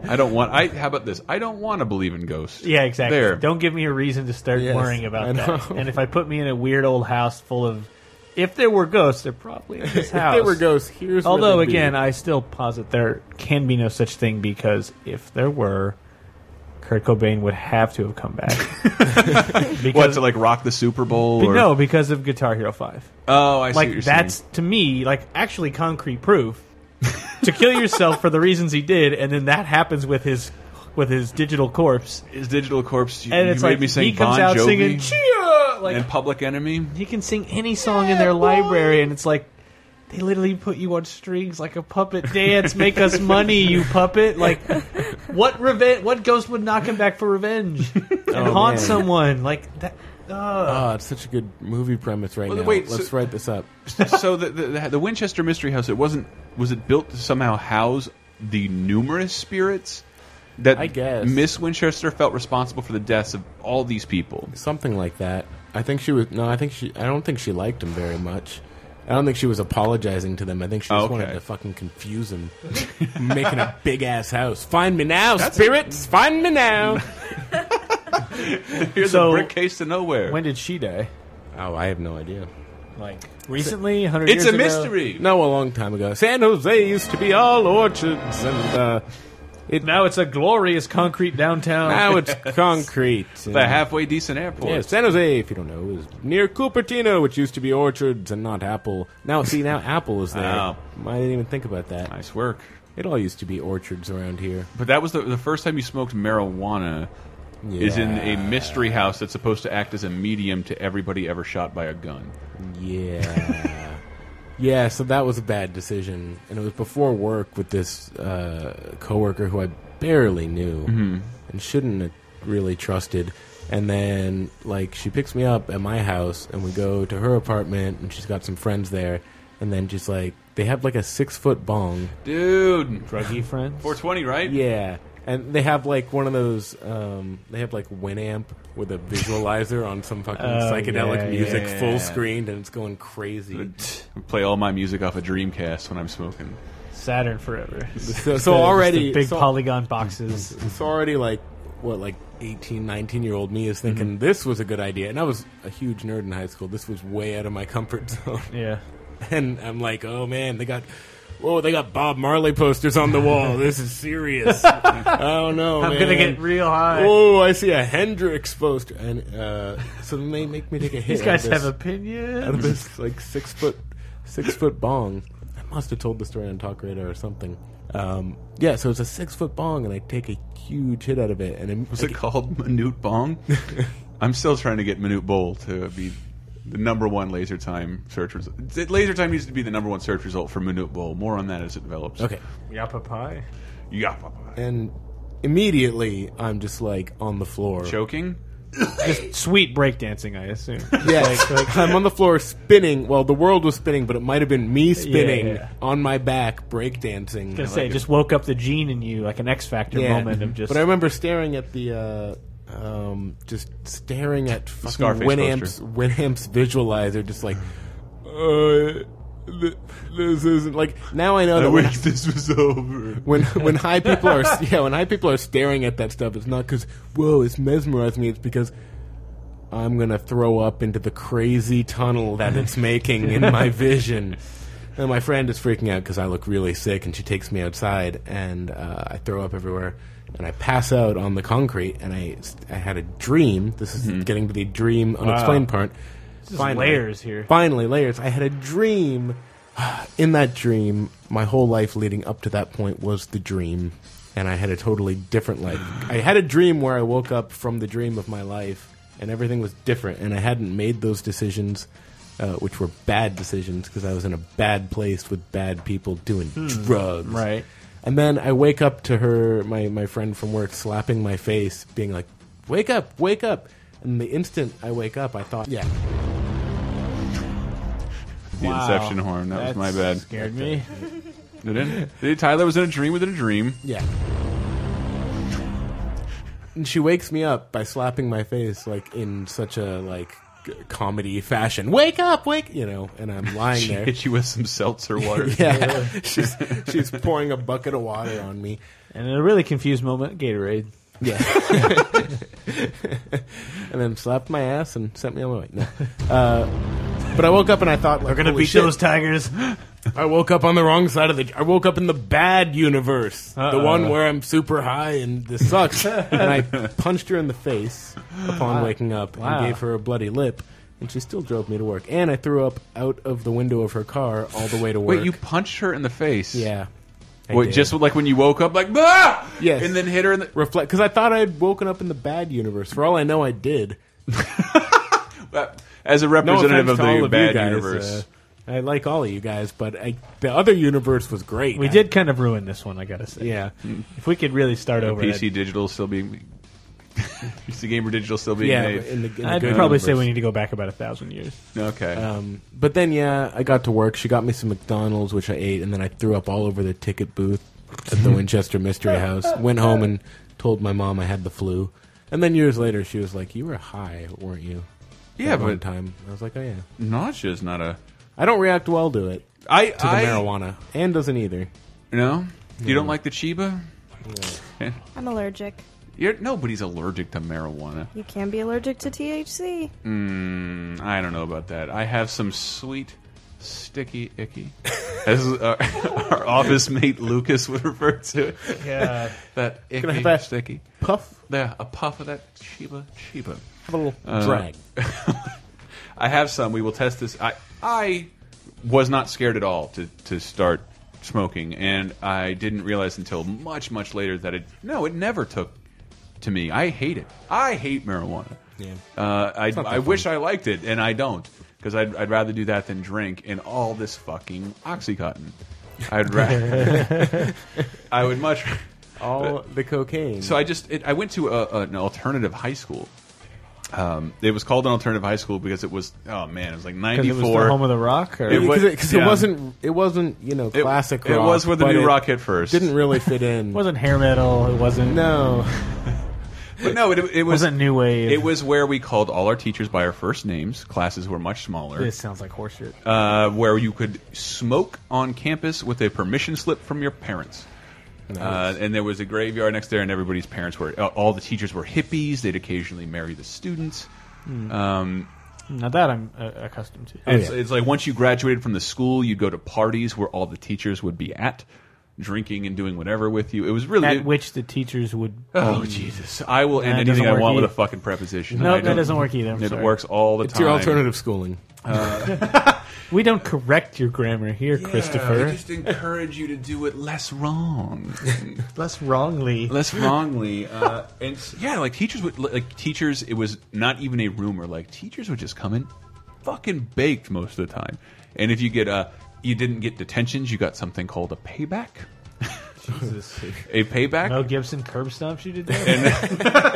C: I don't want. I how about this? I don't want to believe in ghosts.
E: Yeah, exactly.
C: There.
E: Don't give me a reason to start
D: Yes,
E: worrying about
D: I know.
E: that. And if I put me in a weird old house full of if there were ghosts, they're probably in this house.
D: If they were ghosts, here's where
E: Although,
D: they'd be.
E: again, uh, I still posit there can be no such thing because if there were, Kurt Cobain would have to have come back. because,
C: What to like rock the Super Bowl? Or,
E: no, because of Guitar Hero Five.
C: Oh, I see what
E: Like
C: you're
E: that's
C: saying.
E: to me like actually concrete proof to kill yourself for the reasons he did, and then that happens with his with his digital corpse,
C: His digital corpse. You,
E: and
C: you
E: it's
C: made
E: like
C: me sing
E: he comes
C: Bon
E: out
C: Jovi
E: singing "Cheer!" like
C: and Public Enemy.
E: he can sing any song in their library, and it's like they literally put you on strings like a puppet dance. Make us money, you puppet! Like what revenge? What ghost would knock him back for revenge and haunt
D: man.
E: someone like that? Uh,
D: Oh, it's such a good movie premise right
C: Well,
D: now.
C: wait,
D: Let's
C: so-
D: write this up.
C: so the, the the Winchester Mystery House. It wasn't. Was it built to somehow house the numerous spirits that
D: I guess.
C: Miss Winchester felt responsible for the deaths of all these people?
D: Something like that. I think she was. No, I think she. I don't think she liked him very much. I don't think she was apologizing to them. I think she just
C: Okay.
D: wanted to fucking confuse him, making a big ass house. Find me now, spirits. Find me now.
C: Here's
E: So-
C: a briefcase to nowhere.
E: when did she die?
D: oh, I have no idea.
E: Like recently, hundred.
C: it's a mystery.
D: No, a long time ago. San Jose used to be all orchards, and uh,
E: Now it's a glorious concrete downtown.
D: now it's concrete.
C: The halfway decent airport.
D: Yeah, San Jose, if you don't know, is near Cupertino, which used to be orchards and not Apple. Now, see, now Apple is there.
C: Wow.
D: I didn't even think about that.
C: Nice work.
D: It all used to be orchards around here.
C: But that was the, the first time you smoked marijuana. Is in a mystery house that's supposed to act as a medium to everybody ever shot by a gun.
D: Yeah. yeah, so that was a bad decision. And it was before work with this uh, coworker who I barely knew
C: Mm-hmm.
D: and shouldn't have really trusted. And then, like, she picks me up at my house and we go to her apartment and she's got some friends there. And then just like, they have like a six foot bong.
C: Dude,
E: druggy friends.
C: 420, right?
D: Yeah, and they have like one of those. Um, they have like Winamp with a visualizer on some fucking
E: Oh,
D: psychedelic
E: yeah,
D: music,
C: yeah.
D: full screened, and it's going crazy.
C: Play all my music off a Dreamcast when I'm smoking.
E: Saturn forever.
D: So, so already,
E: big
D: so,
E: polygon boxes.
D: so already like what like 18, 19 year old me is thinking
E: Mm-hmm.
D: this was a good idea, and I was a huge nerd in high school. This was way out of my comfort zone,
E: Yeah.
D: and I'm like, oh man, they got. Whoa, they got Bob Marley posters on the wall. This is serious. oh no,
E: I'm gonna
D: man.
E: get real high.
D: Oh, I see a Hendrix poster, and uh, so then they make me take a hit.
E: These guys
D: out of
E: have
D: this, out of
E: opinions.
D: this like six foot, six foot bong. I must have told the story on Talk Radar or something. Um, yeah, so it's a six foot bong, and I take a huge hit out of it, and I'm,
C: Was it called Minute Bong? I'm still trying to get Minute Bowl to be the number one laser time search result. Laser time used to be the number one search result for Minute Bowl. More on that as it develops.
D: okay,
E: Yappa pie.
C: Yeah. papa.
D: and immediately I'm just like on the floor.
C: Choking?
E: Sweet breakdancing, I assume.
D: Yeah, I'm on the floor spinning. Well, the world was spinning, but it might have been me spinning
E: yeah.
D: on my back, breakdancing.
E: gonna say,
C: it. Mm-hmm.
E: just woke up the gene in you, like an X Factor moment of just.
D: But I remember staring at the. Uh, um, just staring at fucking
C: Scarface
D: Winamp's
C: poster.
D: Winamp's visualizer, just like, uh, th- this isn't like. Now I know
C: I
D: that when,
C: wish this was over.
D: when when high people are yeah when high people are staring at that stuff, it's not because whoa, it's mesmerizing me. It's because I'm gonna throw up into the crazy tunnel that it's making in my vision. And my friend is freaking out because I look really sick, and she takes me outside, and uh, I throw up everywhere, and I pass out on the concrete, and I I had a dream. This is
E: Mm-hmm.
D: getting to the dream unexplained part.
E: just layers here.
D: Finally, layers. I had a dream. In that dream, my whole life leading up to that point was the dream, and I had a totally different life. I had a dream where I woke up from the dream of my life, and everything was different, and I hadn't made those decisions, uh, which were bad decisions because I was in a bad place with bad people doing drugs.
E: right.
D: And then I wake up to her, my, my friend from work, slapping my face, being like, Wake up, wake up. And the instant I wake up, I thought, Yeah,
C: The Inception horn. That was
E: That's
C: my bad.
E: Scared me.
C: Did it? Did Tyler was in a dream within a dream.
D: Yeah. And she wakes me up by slapping my face, like in such a like g- comedy fashion. Wake up, wake! You know, and I'm lying
C: She
D: there.
C: hit you with some seltzer water.
D: Yeah, she's she's pouring a bucket of water on me.
E: And in a really confused moment, Gatorade.
D: Yeah. and then slapped my ass and sent me on my way. No. Uh, But I woke up and I thought, like,
E: We're gonna
D: holy
E: beat
D: shit.
E: those tigers.
D: I woke up on the wrong side of the. I woke up in the bad universe, the
E: Uh-oh.
D: one where I'm super high and this sucks. and I punched her in the face upon waking up
E: Wow.
D: and gave her a bloody lip, and she still drove me to work. And I threw up out of the window of her car all the way to work.
C: Wait, you punched her in the face?
D: yeah, I
C: Wait,
D: did.
C: just like when you woke up, like ah,
D: Yes.
C: and then hit her in the.
D: reflect because I thought I had woken up in the bad universe. For all I know, I did.
C: Uh, As a
D: No
C: representative
D: offense
C: of
D: to all
C: the
D: of
C: bad
D: you guys.
C: universe,
D: uh, I like all of you guys, but I, the other universe was great.
E: We
D: I-
E: did kind of ruin this one, I gotta say. Mm.
D: yeah.
E: If we could really start over,
C: PC digital still being PC gamer digital still being
D: Yeah,
C: made.
D: in the, in the
E: I'd
D: good
E: probably say
D: universe.
E: we need to go back about a thousand years.
C: okay.
D: Um, but then, yeah, I got to work. She got me some McDonald's, which I ate, and then I threw up all over the ticket booth at the Winchester Mystery House. Went home and told my mom I had the flu. And then years later, she was like, "You were high, weren't you?"
C: yeah,
D: At one
C: but
D: time, I was like, "Oh yeah."
C: nausea is not a.
D: I don't react well to it
C: I
D: to the
C: I,
D: marijuana. Anne doesn't either.
C: No, you don't like the Chiba.
A: I'm allergic.
C: You're, nobody's allergic to marijuana.
A: You can be allergic to THC.
C: Mm, I don't know about that. I have some sweet, sticky icky, as our, our office mate Lucas would refer to it.
E: Yeah.
C: That icky,
D: I have that?
C: sticky.
D: Puff,
C: There, a puff of that Chiba, Chiba.
D: have a little
C: Uh,
D: drag.
C: I have some. We will test this. I I was not scared at all to to start smoking, and I didn't realize until much much later that it no, it never took to me. I hate it. I hate marijuana.
D: Yeah.
C: Uh, I
D: not that
C: I wish I liked it, and I don't because I'd I'd rather do that than drink and all this fucking oxycontin. I'd rather. I would much.
D: All the cocaine.
C: So I just it, I went to a, an alternative high school. Um, it was called an alternative high school because it was oh man, it was like
E: Because
C: ninety
E: it was the home
C: four.
E: of the rock? Or?
C: It wa-
D: because it, 'cause it
C: yeah.
D: wasn't, it wasn't, you know, classic.
C: it
D: rock,
C: was where the
D: but
C: new
D: it
C: rock hit first.
D: didn't really fit in.
E: wasn't hair metal. It wasn't.
D: no.
C: But no, it, it
E: It
C: was
E: wasn't new wave.
C: it was where we called all our teachers by our first names. Classes were much smaller.
E: This sounds like horseshit.
C: Uh, where you could smoke on campus with a permission slip from your parents. Uh, and there was a graveyard next there, and everybody's parents were uh, all the teachers were hippies. They'd occasionally marry the students. Um,
E: Now that I'm uh, accustomed to.
C: It's,
D: yeah.
C: it's like once you graduated from the school, you'd go to parties where all the teachers would be at, drinking and doing whatever with you. It was really.
E: At which the teachers would.
C: oh Jesus! I will end
E: Nah, it
C: anything
E: doesn't
C: I
E: work
C: want with
E: either.
C: a fucking preposition.
E: No,
C: I
E: that
C: don't-
E: doesn't work either. I'm
C: It
E: sorry.
C: works all the
D: It's
C: time.
D: your alternative schooling.
E: We don't correct your grammar here,
C: I
E: Christopher.
C: just encourage you to do it less wrong,
E: Less wrongly.
C: less wrongly. Uh, and s- yeah, like teachers would like teachers. It was not even a rumor. Like teachers would just come in, fucking baked most of the time. And if you get uh, you didn't get detentions, you got something called a payback. A payback.
E: Mel Gibson curb stomps you to death.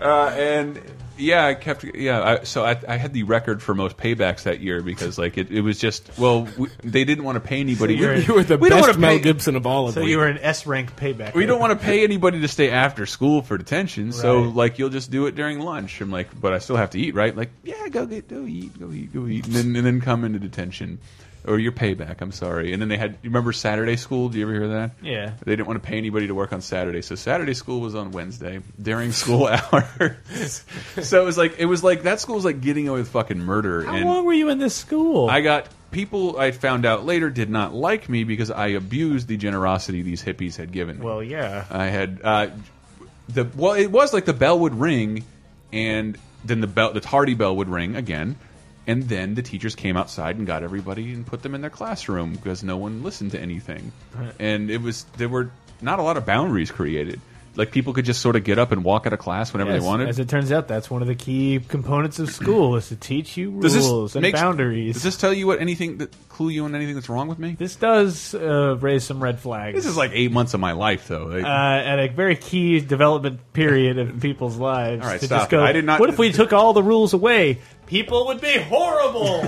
C: Uh, and yeah, I kept yeah. I, so I, I had the record for most paybacks that year because like it, it was just well we, they didn't want to pay anybody.
E: you're-
D: You were the
C: We don't
D: best
C: wanna
D: Mel
C: pay-
D: Gibson of all of
E: So
D: them.
E: you were an S rank payback.
C: we don't want to pay anybody to stay after school for detention, so
E: Right.
C: like you'll just do it during lunch. I'm like, but I still have to eat, right? Like, yeah, go get, go eat, go eat, go eat, and then, and then come into detention or your payback. I'm sorry. And then they had, you remember Saturday school? Do you ever hear that?
E: Yeah.
C: They didn't want to pay anybody to work on Saturday, so Saturday school was on Wednesday during school hours. so it was like it was like that school was like getting away with fucking murder.
E: How
C: and
E: long were you in this school?
C: I got people I found out later did not like me because I abused the generosity these hippies had given. me.
E: well, yeah.
C: I had uh, the well, it was like the bell would ring, and then the bell, the tardy bell would ring again, and then the teachers came outside and got everybody and put them in their classroom because no one listened to anything, and it was there were not a lot of boundaries created. Like people could just sort of get up and walk out of class whenever
E: Yes,
C: they wanted.
E: As it turns out, that's one of the key components of school is to teach you
C: Does this
E: rules and
C: make-
E: boundaries.
C: Does this tell you what anything that clue you on anything that's wrong with me?
E: This does uh, raise some red flags.
C: This is like eight months of my life, though. Like,
E: uh, at a very key development period of people's lives.
C: All right,
E: to
C: stop
E: just go,
C: it. I did not-
E: What if we took all the rules away? People would be horrible.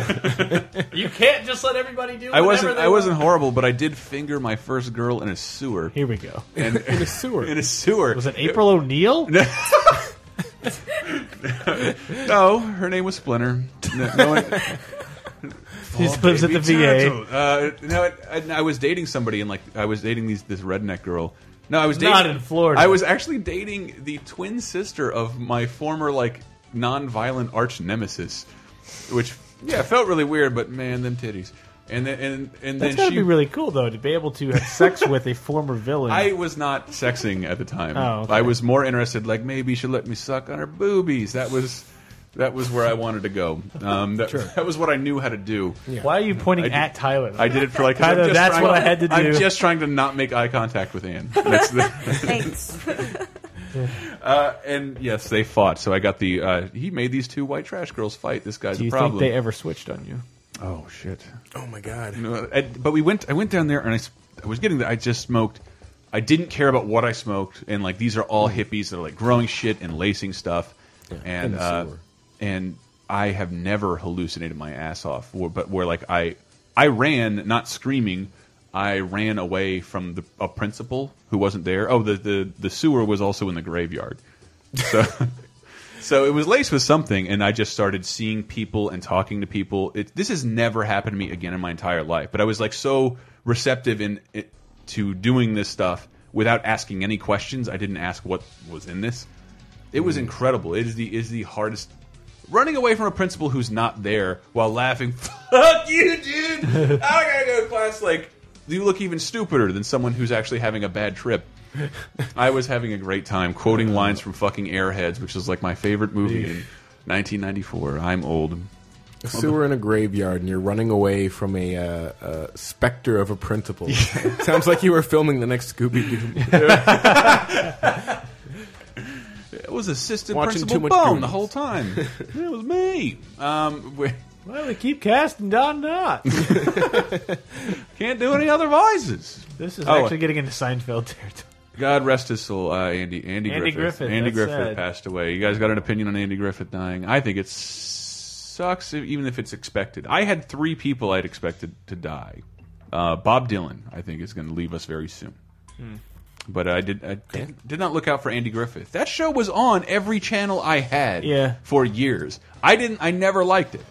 E: you can't just let everybody do.
C: I
E: whatever
C: wasn't.
E: They
C: I
E: want.
C: wasn't horrible, but I did finger my first girl in a sewer.
E: Here we go.
C: And, in a
D: sewer.
C: In a sewer.
E: Was it April O'Neil?
C: No, her name was Splinter. No, no one,
E: She lives at the VA.
C: Uh, no, it, I, I was dating somebody, and like I was dating these, this redneck girl. No, I was dating,
E: Not in Florida.
C: I was actually dating the twin sister of my former like non-violent arch nemesis, which Yeah, it felt really weird, but man, them titties. And then and and then
E: That's gotta
C: she
E: be really cool though to be able to have sex with a former villain.
C: I was not sexing at the time.
E: Oh, okay.
C: I was more interested, like maybe she let me suck on her boobies. That was that was where I wanted to go. Um, that, that was what I knew how to do.
E: Why are you pointing
C: I did-
E: at Tyler?
C: I did it for like.
E: Tyler,
C: I'm just
E: that's
C: trying-
E: what I had to
C: I'm
E: do.
C: just trying to not make eye contact with Anne. That's the,
A: Thanks.
C: uh, and yes, they fought. So I got the. Uh, he made these two white trash girls fight. This guy's a
E: Do you
C: problem.
E: think they ever switched on you?
C: oh shit.
D: Oh my god.
C: You know, I, but we went. I went down there and I, s- I was getting. The, I just smoked. I didn't care about what I smoked, and like these are
D: Mm.
C: all hippies that are like growing shit and lacing stuff, and
D: in the
C: uh,
D: sewer.
C: and I have never hallucinated my ass off. Where, but where like I I ran, not screaming. I ran away from the a principal who wasn't there. Oh, the the the sewer was also in the graveyard, so. So it was laced with something, and I just started seeing people and talking to people. It, this has never happened to me again in my entire life, but I was like so receptive in it, to doing this stuff without asking any questions. I didn't ask what was in this. It was incredible. It is the is the hardest. Running away from a principal who's not there while laughing, fuck you, dude. I gotta go to class. Like you look even stupider than someone who's actually having a bad trip. I was having a great time quoting lines from fucking Airheads, which is like my favorite movie in 1994. I'm old.
D: A sewer in a graveyard, and you're running away from a, uh, uh specter of a principal. Sounds like you were filming the next Scooby Doo.
C: It was assistant
D: Watching
C: principal
D: too much
C: Bone
D: Goonies.
C: the whole time. it was me. Um, we
E: Well, they keep casting Don Knotts.
C: can't do any other voices.
E: this is
C: Oh,
E: actually getting into Seinfeld territory.
C: God rest his soul, uh, Andy. Andy,
E: Andy
C: Griffith.
E: Griffith,
C: Andy
E: that's
C: Griffith
E: sad.
C: passed away. You guys got an opinion on Andy Griffith dying? I think it sucks, even if it's expected. I had three people I'd expected to die. Uh, Bob Dylan, I think, is going to leave us very soon.
E: Hmm.
C: But I did I did, did not look out for Andy Griffith. That show was on every channel I had
E: Yeah.
C: for years. I didn't. I never liked it,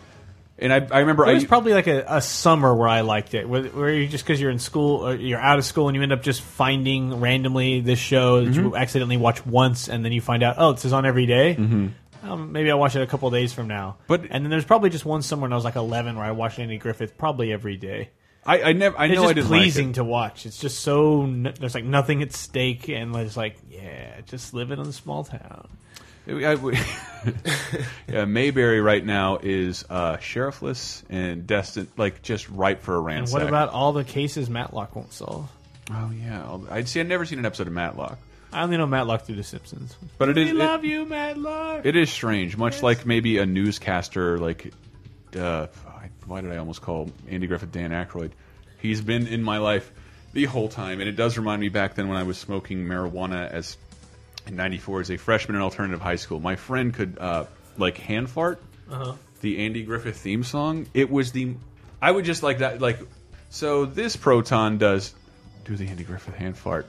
C: and I, I remember
E: There
C: I
E: was probably like a, a summer where I liked it, where, where you just because you're in school, or you're out of school, and you end up just finding randomly this show that
C: Mm-hmm.
E: you accidentally watch once, and then you find out, oh, this is on every day. Um, maybe I'll watch it a couple days from now.
C: Mm-hmm. But-
E: and then there's probably just one somewhere when I was like 11 where I watched Andy Griffith probably every day.
C: I, I never. I
E: It's
C: know
E: just
C: I didn't like it.
E: pleasing to watch. It's just so n- there's like nothing at stake, and it's like yeah, just living in a small town.
C: I- we- yeah, Mayberry right now is uh, sheriffless and destined, like just ripe for a
E: And
C: ransack.
E: what about all the cases Matlock won't solve?
C: Oh yeah, I'd see. I'd never seen an episode of Matlock,
E: I only know Matlock through The Simpsons.
C: but it
E: we
C: is
E: love
C: it,
E: you, Matlock.
C: it is strange. Much like maybe a newscaster, like uh, I- why did I almost call Andy Griffith Dan Aykroyd? He's been in my life the whole time, and it does remind me back then when I was smoking marijuana as in '94 as a freshman in alternative high school. My friend could uh, like hand fart. the Andy Griffith theme song, it was the I would just like that like so this proton does do the Andy Griffith hand fart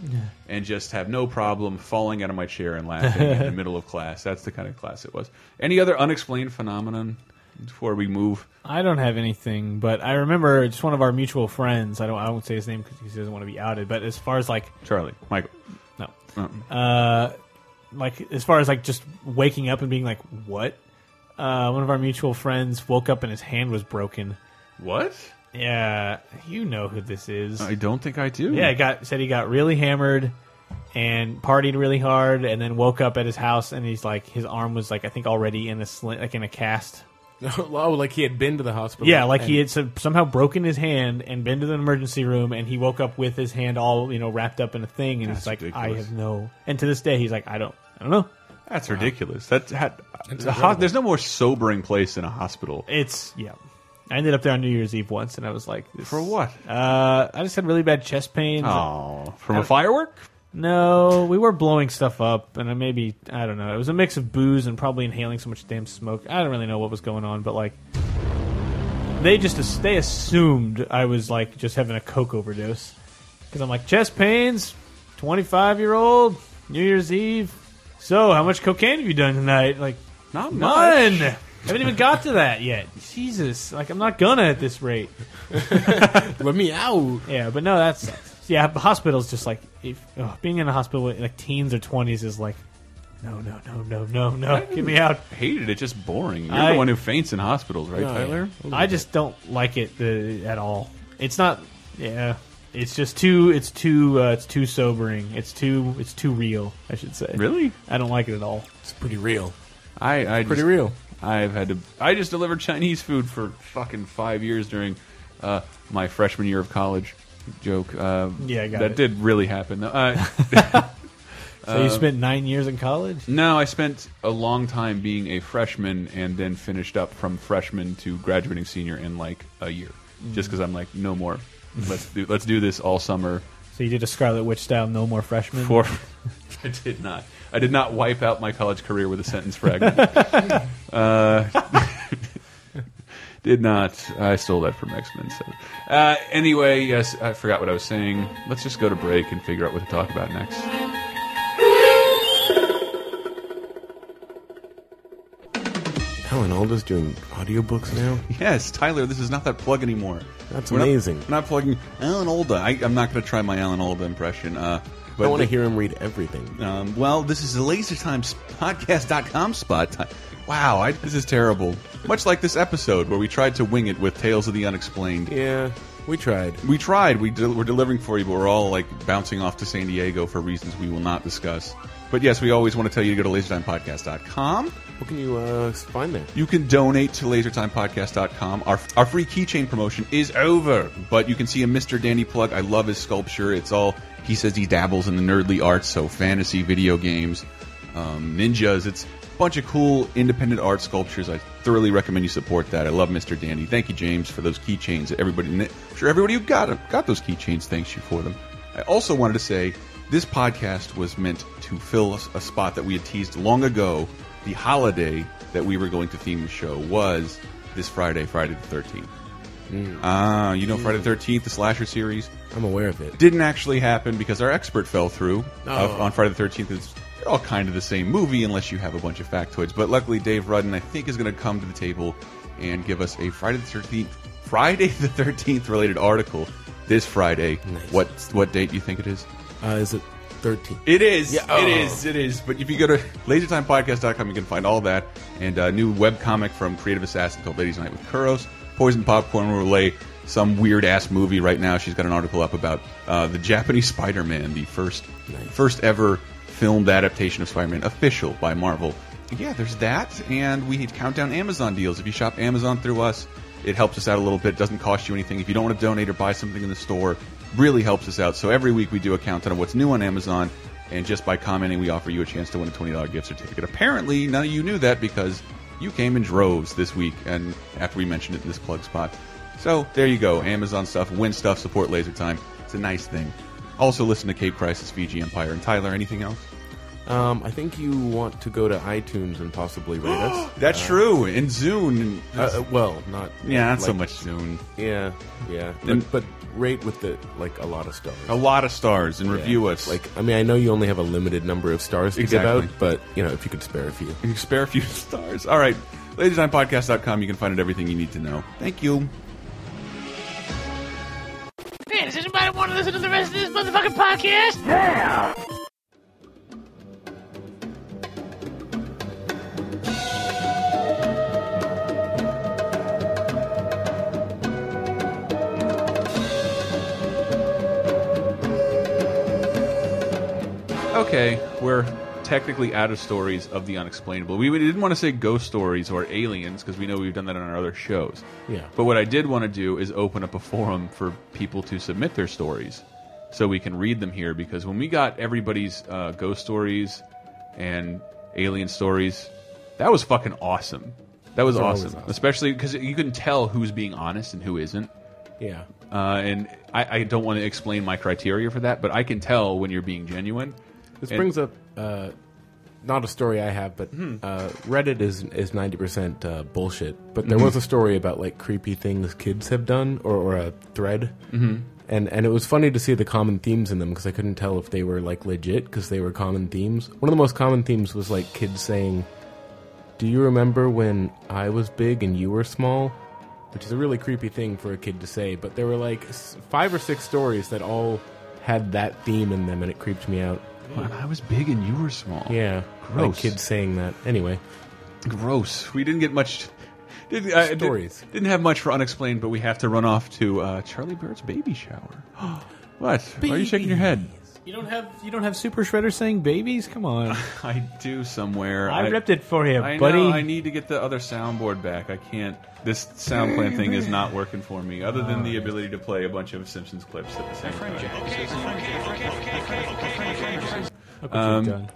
C: and just have no problem falling out of my chair and laughing in the middle of class. That's the kind of class it was. Any other unexplained phenomenon before we move?
E: I don't have anything, but I remember just one of our mutual friends. I don't. I won't say his name because he doesn't want to be outed. But as far as like,
C: Charlie, Michael.
E: no,
C: Oh.
E: uh, like as far as like just waking up and being like, what? Uh, one of our mutual friends woke up and his hand was broken.
C: What?
E: Yeah, you know who this is.
C: I don't think I do.
E: Yeah, got said he got really hammered and partied really hard, and then woke up at his house and he's like his arm was like I think already in a sling, like in a cast.
D: oh, like he had been to the hospital.
E: Yeah, like
D: and-
E: he had some- somehow broken his hand and been to the emergency room, and he woke up with his hand all you know wrapped up in a thing, and
C: That's
E: he's like, I
C: ridiculous.
E: have no. And to this day, he's like, I don't, I don't know.
C: That's ridiculous. That's, had, the ho- there's no more sobering place than a hospital.
E: It's yeah. I ended up there on New Year's Eve once, and I was like, this,
C: For what?
E: Uh, I just had really bad chest pains.
C: Oh, from a firework?
E: No, we were blowing stuff up, and I maybe I don't know. It was a mix of booze and probably inhaling so much damn smoke. I don't really know what was going on, but like they just they assumed I was like just having a coke overdose because I'm like chest pains, 25 year old, New Year's Eve. So how much cocaine have you done tonight? Like
C: Not much.
E: none. haven't even got to that yet. Jesus, like I'm not gonna at this rate.
D: Let me out.
E: Yeah, but no, that's yeah. but Hospitals just like if, ugh, being in a hospital, like teens or twenties, is like No, no, no, no, no, no. Get me out.
C: Hated it. Just boring. You're
E: I-
C: the one who faints in hospitals, right,
D: Oh, yeah.
C: Tyler?
E: I just don't like it the, at all. It's not. Yeah, it's just too. It's too. Uh, it's too sobering. It's too. It's too real. I should say.
C: Really?
E: I don't like it at all.
D: It's pretty real.
C: I, I
D: Pretty
C: just-
D: real.
C: I've had to. I just delivered Chinese food for fucking five years during uh, my freshman year of college. Joke. Uh,
E: Yeah, I got
C: that
E: it.
C: did really happen. though. Uh,
E: So you spent nine years in college.
C: no, I spent a long time being a freshman and then finished up from freshman to graduating senior in like a year,
E: Mm.
C: just because I'm like, no more. Let's do, let's do this all summer.
E: So you did a Scarlet Witch style, no more freshmen.
C: For I did not. I did not wipe out my college career with a sentence fragment. uh, did not. I stole that from X Men. So. Uh, anyway, yes, I forgot what I was saying. Let's just go to break and figure out what to talk about next.
D: Helen Alda's doing audiobooks now.
C: Yes, Tyler, this is not that plug anymore.
D: That's
C: not-
D: amazing.
C: we're not plugging Alan Alda. I, I'm not going to try my Alan Alda impression. Uh, but
D: I want to
C: the-
D: hear him read everything.
C: Um, well, this is the LaserTimesPodcast.com spot. Ti- Wow, I, this is terrible. Much like this episode where we tried to wing it with Tales of the Unexplained.
D: Yeah, we tried.
C: We tried. We del we're delivering for you, but we're all like bouncing off to San Diego for reasons we will not discuss. But yes, we always want to tell you to go to LaserTimePodcast.com.
D: What can you uh, find there?
C: You can donate to lasertimepodcast.com. Our, our free keychain promotion is over, but you can see a Mr. Danny plug. I love his sculpture. It's all, he says he dabbles in the nerdly arts, so fantasy, video games, um, ninjas. It's a bunch of cool independent art sculptures. I thoroughly recommend you support that. I love Mr. Danny. Thank you, James, for those keychains. Everybody, I'm sure everybody who got, 'em- got those keychains, thanks you for them. I also wanted to say this podcast was meant to fill a, a spot that we had teased long ago the holiday that we were going to theme the show was this Friday, Friday the 13th. Ah, you know Friday the 13th, the slasher series.
D: I'm aware of it.
C: Didn't actually happen because our expert fell through uh,
D: Oh.
C: on Friday the 13th. It's, they're all kind of the same movie unless you have a bunch of factoids. But luckily, Dave Rudden, I think, is going to come to the table and give us a Friday the 13th, Friday the 13th related article this Friday.
D: Nice.
C: What what date do you think it is?
D: Uh, is it 13?
C: It is.
D: Yeah, oh.
C: It is. It is. But if you go to lasertimepodcast.com, you can find all that and a new webcomic from Creative Assassin called Ladies Night with Kuros. Poison Popcorn Relay, some weird ass movie right now. She's got an article up about uh, the Japanese Spider Man, the first first ever filmed adaptation of Spider Man, official by Marvel. Yeah, there's that. And we had countdown Amazon deals. If you shop Amazon through us, it helps us out a little bit. Doesn't cost you anything. If you don't want to donate or buy something in the store, really helps us out. So every week we do a countdown of what's new on Amazon, and just by commenting, we offer you a chance to win a twenty dollars gift certificate. Apparently, none of you knew that because you came in droves this week, and after we mentioned it in this plug spot. So there you go. Amazon stuff, win stuff, support Laser Time. It's a nice thing. Also, listen to Cape Crisis, VG Empire, and Tyler. Anything else?
D: Um, I think you want to go to iTunes and possibly rate us.
C: That's true. And Zune.
D: Uh, uh, well, not
C: yeah, not so
D: like-
C: much Zune.
D: Yeah, yeah,
C: And-
D: but, but rate with the like a lot of stars.
C: A lot of stars and
D: Yeah.
C: review us.
D: Like, I mean, I know you only have a limited number of stars to
C: Exactly.
D: give out, but you know, if you could spare a few.
C: You can spare a few stars. All right. LaserTimePodcast.com. You can find out everything you need to know. Thank you.
F: Hey, does anybody want to listen to the rest of this motherfucking podcast?
C: Okay, we're technically out of stories of the unexplainable. We we didn't want to say ghost stories or aliens because we know we've done that on our other shows.
D: Yeah.
C: But what I did want to do is open up a forum for people to submit their stories so we can read them here because when we got everybody's uh, ghost stories and alien stories, that was fucking awesome. That was
D: always
C: awesome.
D: awesome.
C: Especially because you can tell who's being honest and who isn't.
D: Yeah,
C: Uh, and I, I don't want to explain my criteria for that, but I can tell when you're being genuine.
D: this
C: And-
D: brings up uh, not a story I have, but uh, Reddit is is ninety percent uh, bullshit. But there was a story about like creepy things kids have done, or, or a thread, mm-hmm. and and it was funny to see the common themes in them because I couldn't tell if they were like legit because they were common themes. One of the most common themes was like kids saying, "Do you remember when I was big and you were small?" Which is a really creepy thing for a kid to say, but there were like s- five or six stories that all had that theme in them, and it creeped me out.
C: When I was big and you were small.
D: Yeah,
C: Gross.
D: Like kids saying that. Anyway,
C: Gross. We didn't get much. Didn't, uh, didn't-
D: Stories.
C: Didn't, have much for unexplained, but we have to run off to uh, Charlie Bird's baby shower. what? Why are you shaking your head?
E: You don't have you don't have Super Shredder saying babies. Come on,
C: I do somewhere.
E: I, ripped it for you,
C: I know,
E: buddy.
C: I need to get the other soundboard back. I can't. This sound plan thing is not working for me. Other than the ability to play a bunch of Simpsons clips at the same time.
D: look what
C: Um,
D: you've done.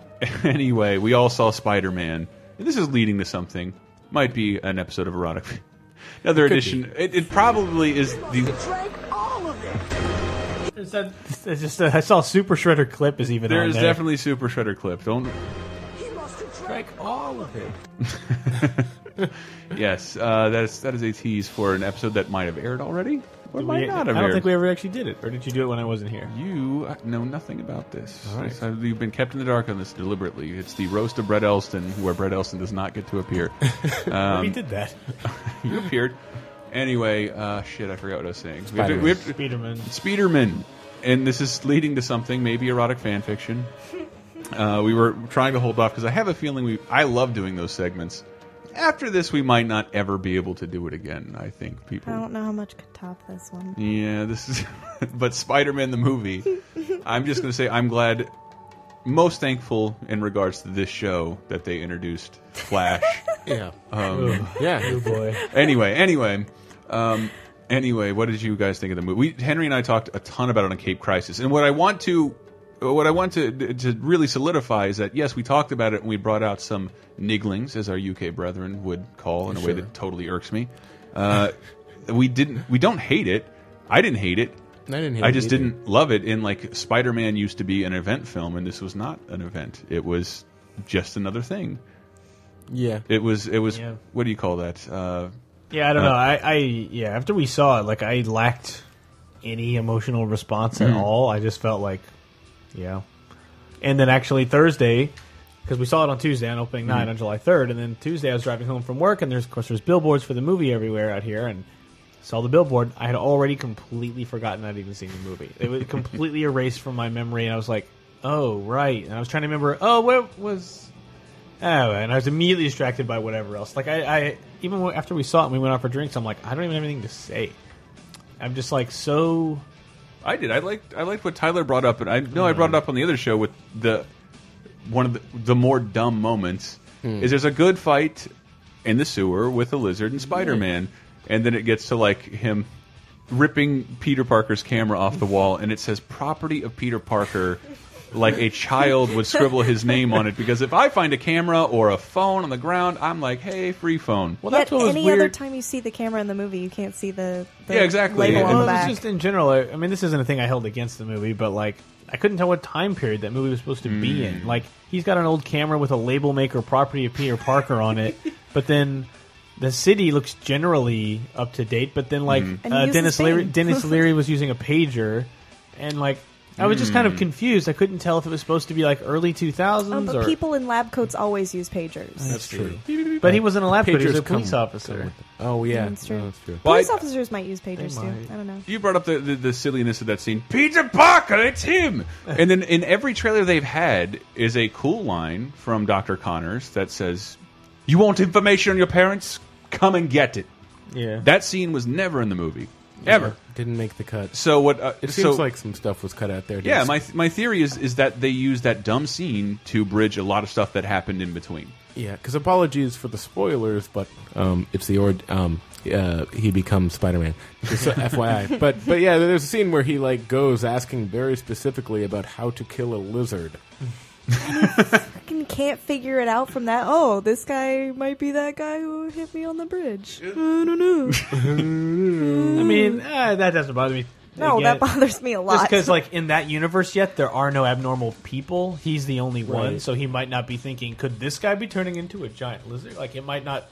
C: anyway, we all saw Spider Man, and this is leading to something. Might be an episode of erotic. Another edition. It, it probably is the
E: Is that- it's just uh, I saw Super Shredder clip is even
C: There
E: on
C: is
E: there.
C: definitely Super Shredder clip. Don't. Yes, uh, that is that is a tease for an episode that might have aired already or
E: We-
C: might not
E: I
C: have
E: don't
C: aired.
E: think we ever actually did it, or did you do it when I wasn't here?
C: You know nothing about this.
E: right.
C: So you've been kept in the dark on this deliberately. It's the roast of Brett Elston, where Brett Elston does not get to appear. Um,
E: we did that.
C: you appeared. Anyway, uh, shit, I forgot what I was saying. We have to-
D: Spider-Man.
C: we have to-
E: Speederman.
C: Speederman. And this is leading to something, maybe erotic fan fiction. Uh, we were trying to hold off because I have a feeling we. I love doing those segments. After this, we might not ever be able to do it again. I think people.
A: I don't know how much could top this one.
C: Yeah, this is. but Spider Man the movie, I'm just going to say I'm glad, most thankful in regards to this show that they introduced Flash.
D: Yeah,
C: um,
D: yeah.
E: boy.
C: anyway, anyway. Um, anyway, what did you guys think of the movie? We, Henry and I talked a ton about it on Cape Crisis. And what I want to. What I want to to really solidify is that yes, we talked about it and we brought out some nigglings, as our UK brethren would call, in a way
D: Sure.
C: that totally irks me. Uh, we didn't, we don't hate it. I didn't hate it.
D: I didn't. Hate
C: I
D: it
C: just
D: either.
C: didn't love it. In like Spider Man used to be an event film, and this was not an event. It was just another thing.
D: Yeah,
C: It was it was
E: Yeah.
C: what do you call that? Uh,
E: Yeah, I don't know. I, I yeah. After we saw it, like I lacked any emotional response at all. I just felt like, yeah. And then actually Thursday, because we saw it on Tuesday on opening night on July third, and then Tuesday I was driving home from work, and there's of course there's billboards for the movie everywhere out here, and saw the billboard. I had already completely forgotten I'd even seen the movie. It was completely erased from my memory, and I was like, oh right. And I was trying to remember. Oh, what was Oh, and I was immediately distracted by whatever else. Like I, I even w- after we saw it, and we went out for drinks. I'm like, I don't even have anything to say. I'm just like so.
C: I did. I liked I liked what Tyler brought up, and I know I brought it up on the other show with the one of the, the more dumb moments is there's a good fight in the sewer with a lizard and Spider Man, and then it gets to like him ripping Peter Parker's camera off the wall, and it says property of Peter Parker. Like a child would scribble his name on it because if I find a camera or a phone on the ground, I'm like, "Hey, free phone."
E: Well,
A: Yet
E: that's what was
A: any
E: weird.
A: other time you see the camera in the movie, you can't see the, the
C: Yeah, exactly.
A: label
C: Yeah.
A: on
E: well,
A: the
E: it was
A: back.
E: just in general. I, I mean, this isn't a thing I held against the movie, but like, I couldn't tell what time period that movie was supposed to be
D: Hmm.
E: in. Like, he's got an old camera with a label maker property of Peter Parker on it, but then. The city looks generally up to date, but then
D: Hmm.
E: like
A: And he
E: uh,
A: used the
E: Dennis Leary,
A: same.
E: Dennis Leary was using a pager, and like I was just kind
D: Hmm.
E: of confused. I couldn't tell if it was supposed to be like early two
A: Oh,
E: thousands
A: but
E: or
A: people in lab coats always use pagers.
D: that's true.
E: But he wasn't a lab coat; he was
D: Pagers
E: a police
D: come-
E: officer.
D: Oh yeah,
A: That's true.
D: No, that's true.
C: Why-
A: Police officers might use pagers too. I don't know.
C: You brought up the, the, the silliness of that scene. Peter Parker, it's him. and then in every trailer they've had is a cool line from Dr. Connors that says, "You want information on your parents? Come and get it."
E: Yeah,
C: That scene was never in the movie, ever.
D: Didn't make the cut.
C: So what? Uh,
D: It
C: so-
D: seems like some stuff was cut out there. to
C: yeah.
D: sc-
C: My my theory is is that they used that dumb scene to bridge a lot of stuff that happened in between.
D: yeah. Because apologies for the spoilers, but um, it's the or um, uh, he becomes Spider-Man. Just a FYI, but but yeah, there's a scene where he like goes asking very specifically about how to kill a lizard.
A: Fucking can't figure it out from that. Oh, this guy might be that guy who hit me on the bridge. I don't know.
E: I mean uh, that doesn't bother me.
A: No,
E: Again,
A: that bothers me a
E: Just
A: lot.
E: because, like, in that universe yet, there are no abnormal people. He's the only one,
D: Right.
E: so he might not be thinking, could this guy be turning into a giant lizard? Like, it might not.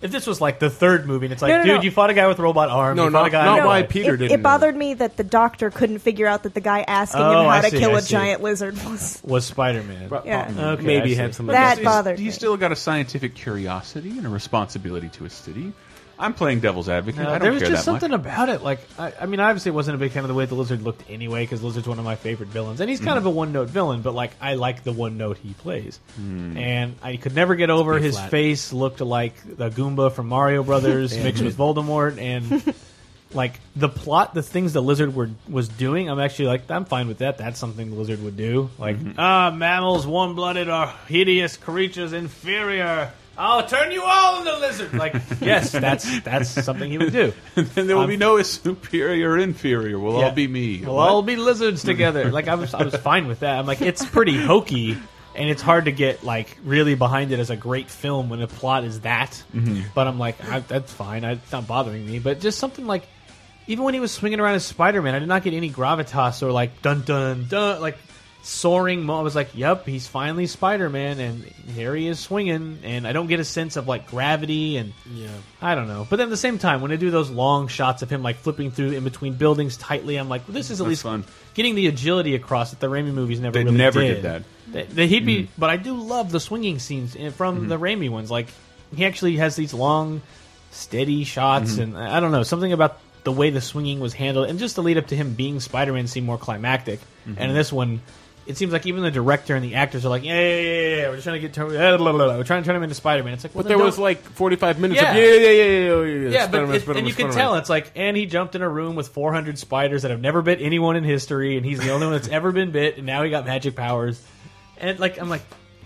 E: If this was, like, the third movie, and it's like,
A: No, no,
E: dude,
A: no.
E: you fought a guy with robot arms.
D: No,
E: you fought
D: not-
E: a guy
D: not
E: with-
D: why
A: it-
D: Peter
A: it,
D: didn't know.
A: bothered me that the doctor couldn't figure out that the guy asking
E: Oh,
A: him
E: I
A: how to
E: see,
A: kill
E: I
A: a
E: see.
A: giant lizard was.
E: Was Spider Man.
A: Yeah.
E: Okay,
D: uh, Maybe
E: I
D: had
E: see.
D: some.
A: That
D: adjustments.
A: bothered
C: He's
A: me.
C: still got a scientific curiosity and a responsibility to his city. I'm playing devil's advocate. I
E: No,
C: don't
E: uh, there was
C: care
E: just
C: that much.
E: something about it. Like, I, I mean, I obviously wasn't a big fan of the way the lizard looked anyway, because lizard's one of my favorite villains, and he's kind
C: Mm-hmm.
E: of a one note villain. But like, I like the one note he plays,
C: Mm.
E: and I could never get over
D: pretty
E: his
D: flat.
E: face looked like the Goomba from Mario Brothers
D: Yeah,
E: mixed
D: it
E: with Voldemort, and like the plot, the things the lizard were was doing. I'm actually like, I'm fine with that. That's something the lizard would do. Like,
C: Mm-hmm.
E: ah, mammals, one blooded, are hideous creatures, inferior. I'll turn you all into lizard. Like, yes, that's that's something he would do.
C: and there will
E: I'm-
C: be no superior or inferior. We'll
E: Um, Yeah.
C: all be me.
E: We'll
C: What?
E: all be lizards together. like I was, I was fine with that. I'm like, it's pretty hokey, and it's hard to get like really behind it as a great film when the plot is that.
C: Mm-hmm.
E: But I'm like, I, that's fine. I, it's not bothering me. But just something like, even when he was swinging around as Spider Man, I did not get any gravitas or like dun dun dun like soaring. Mo- I was like, yep, he's finally Spider Man, and here he is swinging, and I don't get a sense of like gravity and.
D: Yeah.
E: I don't know. But then at the same time, when they do those long shots of him like flipping through in between buildings tightly, I'm like, this is at
C: That's
E: least
C: fun.
E: getting the agility across that the Raimi movies never
C: They
E: really
C: never
E: did.
C: did that. Mm.
E: That- that he'd be, but I do love the swinging scenes in- from
C: Mm-hmm.
E: the Raimi ones. Like he actually has these long, steady shots,
C: Mm-hmm.
E: and I I don't know something about the way the swinging was handled, and just the lead up to him being Spider-Man seemed more climactic.
C: Mm-hmm.
E: And in this one. It seems like even the director and the actors are like, yeah, yeah, yeah, yeah, yeah. we're just trying to get, blah, blah, blah. we're trying to turn him into Spider-Man. It's like, well,
D: But
E: then
D: there was
E: don't-
D: like 45 minutes
E: Yeah.
D: of yeah, yeah, yeah, yeah, yeah. yeah,
E: yeah,
D: Spider-Man,
E: but it,
D: Spider-Man,
E: and you can
D: Spider-Man.
E: tell it's like, and he jumped in a room with 400 spiders that have never bit anyone in history, and he's the only one that's ever been bit, and now he got magic powers, and like I'm like,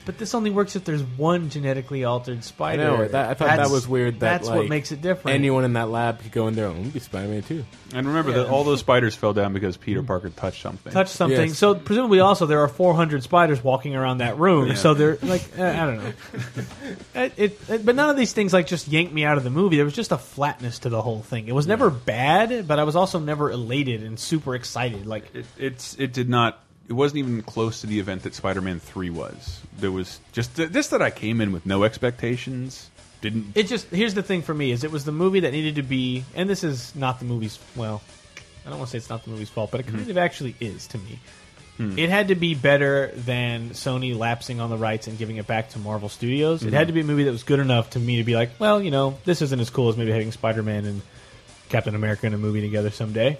E: but this only works if there's one genetically altered
D: I
E: spider.
D: know. That, I thought
E: That's-
D: that was weird. That
E: that's
D: like,
E: what makes it different.
D: Anyone in that lab could go in there. Oh, we could Spider-Man too.
C: And remember that all those spiders fell down because Peter Parker touched something.
E: touch something.
D: Yes.
E: So presumably also there are 400 spiders walking around that room. So they're like uh, I don't know. It, it, it- but none of these things like just yanked me out of the movie. There was just a flatness to the whole thing. It was never bad, but I was also never elated and super excited. Like
C: It, it's it did not. It wasn't even close to the event that Spider-Man Three was. There was just th this that I came in with no expectations. Didn't
E: it just here's the thing for me is it was the movie that needed to be and this is not the movie's well i don't want to say it's not the movie's fault but it kind of actually is to me it had to be better than sony lapsing on the rights and giving it back to marvel studios it had to be a movie that was good enough to me to be like well you know this isn't as cool as maybe having spider-man and captain america in a movie together someday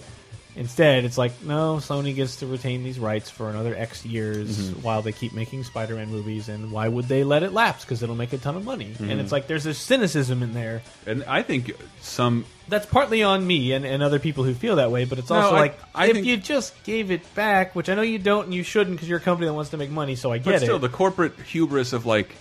E: instead it's like no sony gets to retain these rights for another x years while they keep making spider-man movies and why would they let it lapse because it'll make a ton of money and it's like there's this cynicism in there
C: and I think some
E: that's partly on me and, and other people who feel that way, but it's
C: No,
E: also
C: I-
E: like
C: I
E: if
C: think-
E: you just gave it back, which I know you don't and you shouldn't because you're a company that wants to make money, so I get
C: but still
E: it.
C: the corporate hubris of like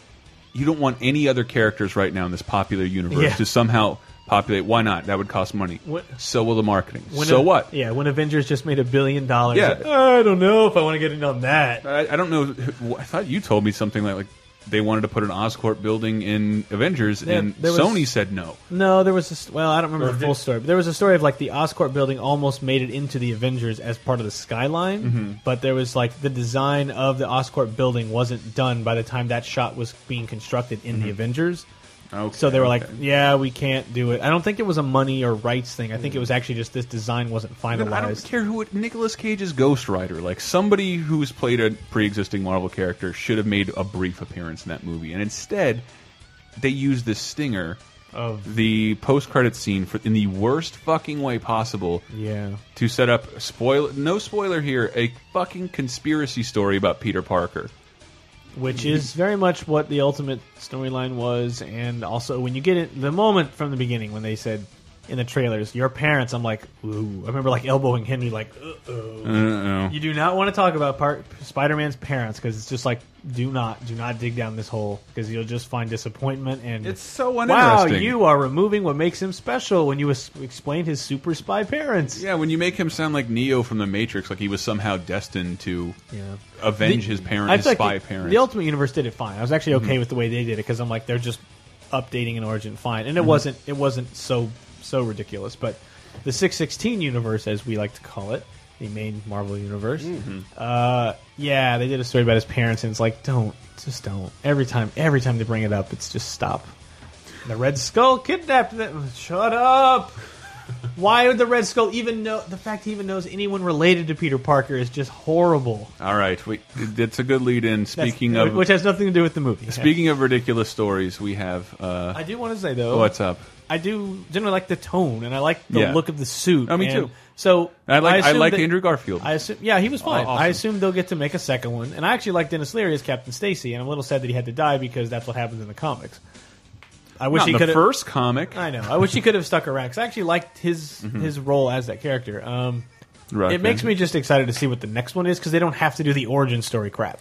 C: you don't want any other characters right now in this popular universe
E: Yeah.
C: to somehow populate. Why not? That would cost money.
E: What-
C: So will the marketing.
E: When
C: so
E: Av-
C: what?
E: Yeah, when Avengers just made a billion dollars,
C: Yeah.
E: like, I don't know if I want to get in on that.
C: I, I don't know. I thought you told me something like, like they wanted to put an Oscorp building in Avengers,
E: Yeah,
C: and
E: there was-
C: Sony said no.
E: No, there was a st- well, I don't remember
C: Or
E: the
C: did-
E: full story, but there was a story of like the Oscorp building almost made it into the Avengers as part of the skyline,
C: Mm-hmm.
E: but there was like the design of the Oscorp building wasn't done by the time that shot was being constructed in the Avengers.
C: Mm-hmm. Okay,
E: So they were like,
C: okay.
E: "Yeah, we can't do it." I don't think it was a money or rights thing. I think it was actually just this design wasn't
C: Then I don't
E: finalized.
C: care who it. Nicolas Cage's Ghost Rider, like somebody who's played a pre-existing Marvel character, should have made a brief appearance in that movie, and instead, they used this stinger
E: Of-
C: the post-credit scene for, in the worst fucking way possible.
E: Yeah.
C: to set up spoil no spoiler here a fucking conspiracy story about Peter Parker.
E: which
C: Mm-hmm.
E: is very much what the ultimate storyline was and also when you get it the moment from the beginning when they said in the trailers your parents i'm like ooh i remember like elbowing henry like uh-oh
C: Uh-oh.
E: you do not want to talk about part, spider-man's parents because it's just like do not do not dig down this hole because you'll just find disappointment and
C: It's so
E: wow
C: uninteresting.
E: you are removing what makes him special when you es- explain his super spy parents
C: Yeah, when you make him sound like Neo from the Matrix, like he was somehow destined to
E: Yeah.
C: avenge
E: The-
C: his parent,
E: I
C: his
E: feel like
C: spy
E: the,
C: parents. Mm-hmm.
E: The Ultimate Universe did it fine. I was actually okay with the way they did it because I'm like they're just updating an origin fine,
C: Mm-hmm.
E: and it wasn't it wasn't so so ridiculous. But the 616 universe, as we like to call it, the main Marvel universe,
C: Mm-hmm.
E: uh, yeah, they did a story about his parents, and it's like don't just don't every time every time they bring it up, it's just stop. The Red Skull kidnapped them. Shut up. Why would the Red Skull even know? The fact he even knows anyone related to Peter Parker is just horrible.
C: All right, we, that's a good lead in.
E: That's- uh,
C: Speaking of
E: which has nothing to do with the movie.
C: speaking of ridiculous stories, we have uh,
E: I do want to say though,
C: what's up.
E: I do generally like the tone and I like the
C: Yeah.
E: look of the suit.
C: Oh, me
E: and
C: too.
E: So
C: I like I,
E: assume
C: like
E: that-
C: Andrew Garfield.
E: I assume, yeah, he was fine.
C: Aw- awesome.
E: I assume they'll get to make a second one, and I actually like Dennis Leary as Captain Stacy, and I'm a little sad that he had to die because that's what happens in the comics. I wish
C: Not
E: he
C: in
E: could
C: the
E: have.
C: first comic,
E: I know. I wish he could have stuck around because I actually liked his
C: Mm-hmm.
E: his role as that character. Um,
C: Right,
E: It makes
C: yeah.
E: me just excited to see what the next one is because they don't have to do the origin story crap,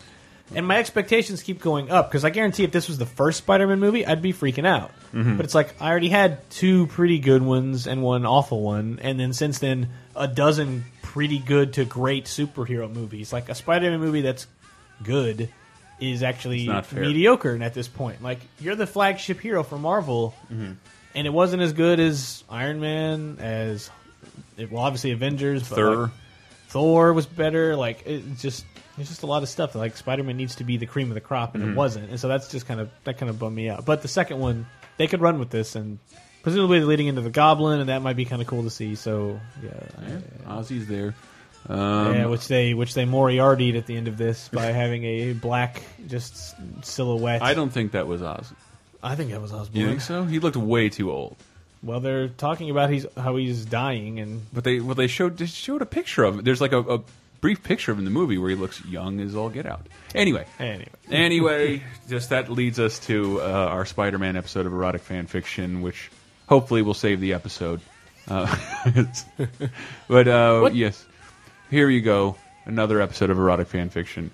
E: and my expectations keep going up because I guarantee if this was the first Spider-Man movie, I'd be freaking out.
C: Mm-hmm.
E: But it's like I already had two pretty good ones and one awful one, and then since then a dozen pretty good to great superhero movies. Like a Spider-Man movie that's good is actually
C: It's not fair.
E: mediocre at this point. Like you're the flagship hero for Marvel and it wasn't as good as Iron Man, as well, obviously Avengers. But
C: Thor.
E: like, Thor was better. Like it just, it's just a lot of stuff. That, like Spider Man needs to be the cream of the crop, and
C: Mm-hmm.
E: it wasn't. And so that's just kind of that kind of bummed me out. But the second one, they could run with this, and presumably they're leading into the Goblin, and that might be kind of cool to see. So yeah,
C: Ozzy's there. Um,
E: yeah, which they which they Moriarty'd at the end of this by having a black just silhouette.
C: I don't think that was Oz.
E: I think that was Osborn.
C: You think so? He looked way too old.
E: Well, they're talking about he's how he's dying and.
C: But they well they showed they showed a picture of him. There's like a, a brief picture of him in the movie where he looks young as all get out. Anyway,
E: Anyway.
C: anyway, just that leads us to uh, our Spider-Man episode of erotic fan fiction, which hopefully will save the episode. Uh, but uh, yes, here you go, another episode of erotic fan fiction.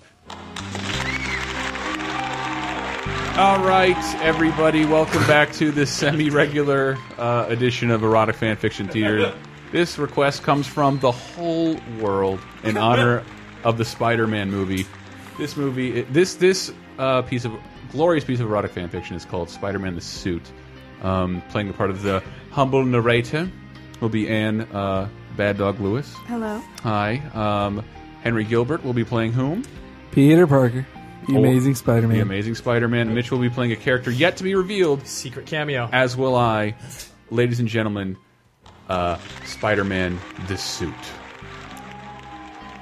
C: All right, everybody, welcome back to this semi-regular uh, edition of Erotic Fan Fiction Theater. This request comes from the whole world in honor of the Spider-Man movie. This movie, it- this this uh, piece of glorious piece of erotic fan fiction is called Spider-Man: The Suit. Um, playing the part of the humble narrator will be Anne uh, Bad Dog Lewis.
A: Hello.
C: Hi, um, Henry Gilbert will be playing whom?
G: Peter Parker, the
C: Oh,
G: Amazing Spider-Man.
C: The Amazing Spider-Man. Mitch will be playing a character yet to be revealed.
E: secret cameo.
C: as will I, ladies and gentlemen, uh, Spider-Man the suit.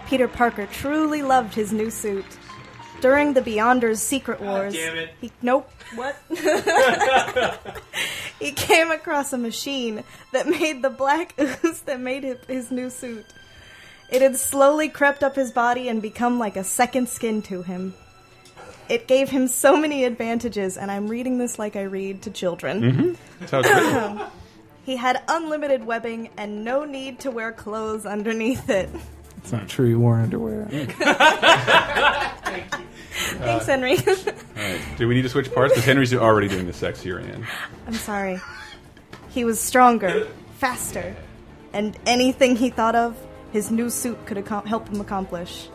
A: Peter Parker truly loved his new suit. During the Beyonders Secret Wars,
E: damn it.
A: he nope, what? he came across a machine that made the black ooze that made it his new suit. It had slowly crept up his body and become like a second skin to him. It gave him so many advantages, and I'm reading this like I read to children.
C: That's how it's written.
A: He had unlimited webbing and no need to wear clothes underneath it.
G: It's not true. He wore underwear.
A: Thanks, Henry.
C: All right. Do we need to switch parts? Because Henry's already doing the sex here, Anne.
A: I'm sorry. He was stronger, faster, and anything he thought of, his new suit could accom- help him accomplish.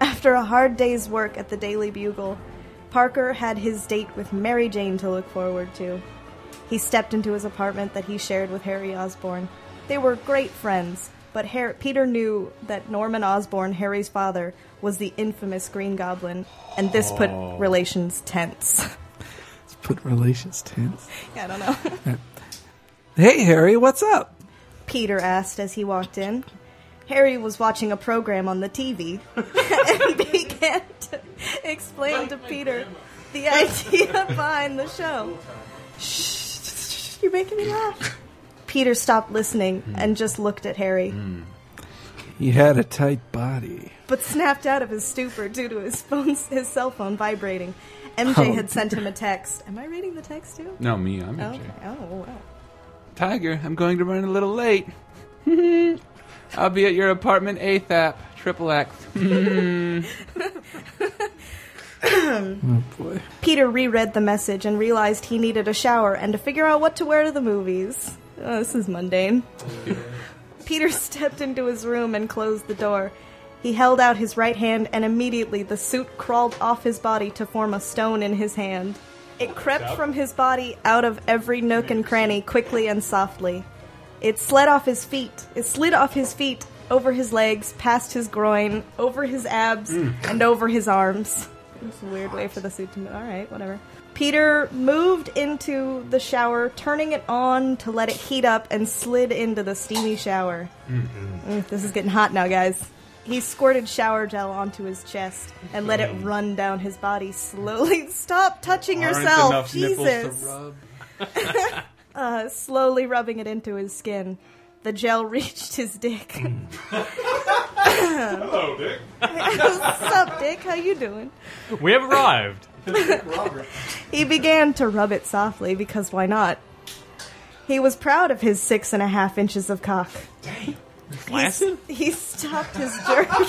A: After a hard day's work at the Daily Bugle, Parker had his date with Mary Jane to look forward to. He stepped into his apartment that he shared with Harry Osborne. They were great friends, but Har- Peter knew that Norman Osborn, Harry's father, was the infamous Green Goblin, and this put relations tense.
G: Let's put relations tense.
A: I don't know.
G: Hey, Harry, what's up?
A: Peter asked as he walked in. Harry was watching a program on the TV and began to explain to Peter the idea behind the show. Shh, you're making me laugh. Peter stopped listening and just looked at Harry,
G: He had a tight body.
A: but snapped out of his stupor due to his phone, his cell phone vibrating. MJ
G: Oh,
A: had sent him a text. Am I reading the text too?
C: No, me. I'm
A: Oh,
C: MJ.
A: oh wow.
C: Tiger, I'm going to run a little late. I'll be at your apartment ASAP. Triple act.
G: Boy.
A: Peter reread the message and realized he needed a shower and to figure out what to wear to the movies. Oh, this is mundane. Peter stepped into his room and closed the door. He held out his right hand, and immediately the suit crawled off his body to form a stone in his hand. It crept from his body out of every nook and cranny quickly and softly. It slid off his feet. It slid off his feet, over his legs, past his groin, over his abs, and over his arms. It's a weird way for the suit to move. All right, whatever. Peter moved into the shower, turning it on to let it heat up, and slid into the steamy shower. Mm, this is getting hot now, guys. He squirted shower gel onto his chest and let it run down his body slowly. Stop touching yourself, Jesus!
C: rub.
A: Uh, slowly rubbing it into his skin. The gel reached his dick.
C: Hello, Dick.
A: What's up, Dick? How you doing?
E: We have arrived.
A: He began to rub it softly because why not? He was proud of his six and a half inches of cock.
E: Lasted?
A: He stopped his jerking.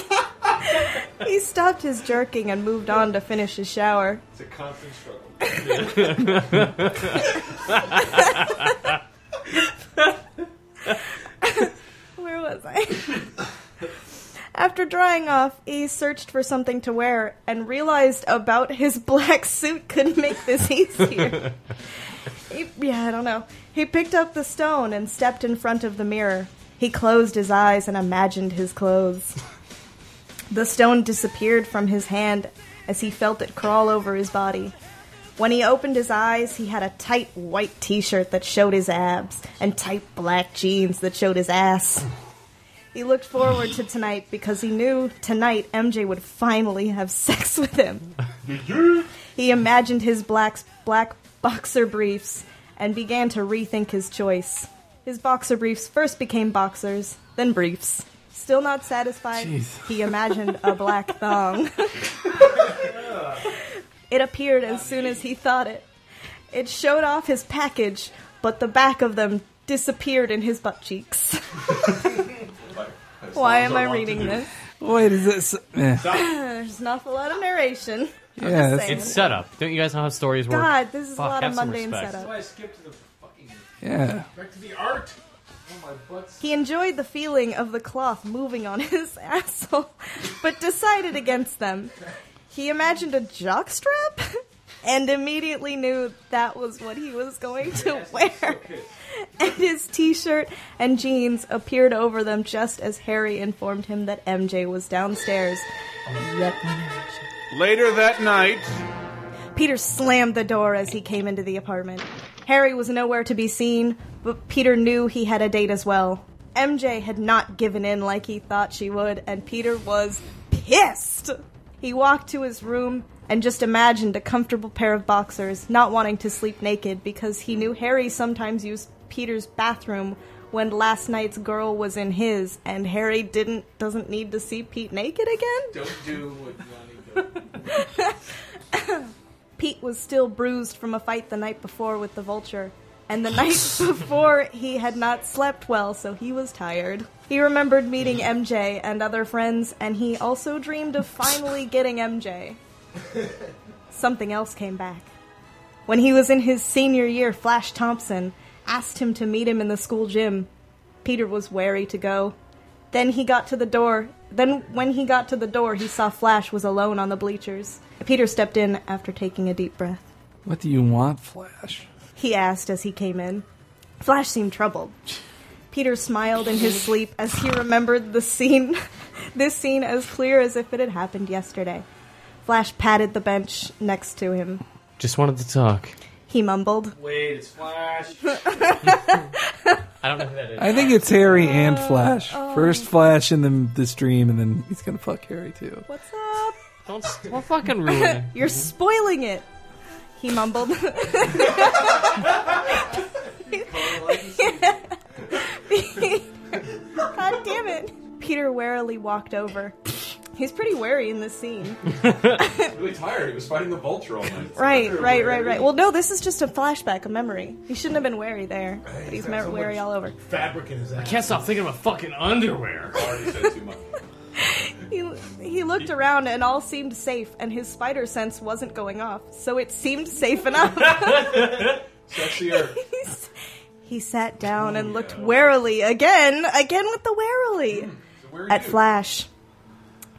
A: he stopped his jerking and moved on to finish his shower.
C: It's a constant struggle.
A: Where was I? After drying off, he searched for something to wear and realized about his black suit could make this easier. He- yeah, I don't know. He picked up the stone and stepped in front of the mirror. He closed his eyes and imagined his clothes. The stone disappeared from his hand as he felt it crawl over his body. When he opened his eyes, he had a tight white t shirt that showed his abs and tight black jeans that showed his ass. He looked forward to tonight because he knew tonight MJ would finally have sex with him. he imagined his black, black boxer briefs and began to rethink his choice. His boxer briefs first became boxers, then briefs. Still not satisfied, he imagined a black thong. It appeared as soon as he thought it. It showed off his package, but the back of them disappeared in his butt cheeks. Why am I reading this?
G: Wait, is this? eh,
A: There's an awful lot of narration.
G: yeah,
A: saying.
G: it's-
H: It's setup. Don't you guys know how stories work?
A: God, this is
H: Fuck,
A: a lot of
H: have some
A: mundane
H: respect.
A: setup.
I: I skipped the fucking
G: yeah.
I: back to the art. Oh my butts.
A: He enjoyed the feeling of the cloth moving on his asshole, but decided against them. He imagined a jockstrap and immediately knew that was what he was going to wear. And his t shirt and jeans appeared over them just as Harry informed him that MJ was downstairs.
C: Later that night,
A: Peter slammed the door as he came into the apartment. Harry was nowhere to be seen, but Peter knew he had a date as well. MJ had not given in like he thought she would, and Peter was pissed. He walked to his room and just imagined a comfortable pair of boxers, not wanting to sleep naked because he knew Harry sometimes used Peter's bathroom when last night's girl was in his, and Harry didn't doesn't need to see Pete naked again.
I: Don't do what Johnny does.
A: Pete was still bruised from a fight the night before with the vulture. And the night before, he had not slept well, so he was tired. He remembered meeting MJ and other friends, and he also dreamed of finally getting MJ. Something else came back. When he was in his senior year, Flash Thompson asked him to meet him in the school gym. Peter was wary to go. Then he got to the door. Then, when he got to the door, he saw Flash was alone on the bleachers. Peter stepped in after taking a deep breath.
G: What do you want, Flash?
A: He asked as he came in. Flash seemed troubled. Peter smiled in his sleep as he remembered the scene, this scene as clear as if it had happened yesterday. Flash patted the bench next to him.
H: Just wanted to talk.
A: He mumbled,
I: Wait, it's Flash.
H: I don't know who that is.
G: I think it's Harry and
C: Uh,
G: Flash.
C: um,
G: First Flash, and then this dream, and then he's gonna fuck Harry too.
A: What's up?
H: Don't, s- don't fucking ruin it.
A: You're spoiling it, he mumbled. God damn it. Peter warily walked over. He's pretty wary in this scene.
C: really tired. He was fighting the vulture all night.
A: Right, right, right, right. Well, no, this is just a flashback, a memory. He shouldn't have been wary there, but he's mer- wary all over.
I: Fabric in his ass.
H: Can't stop thinking about fucking underwear.
C: Already said too much.
A: He, he looked around and all seemed safe, and his spider sense wasn't going off, so it seemed safe enough.
C: Sexier.
A: He sat down and looked warily again, again with the warily, at Flash.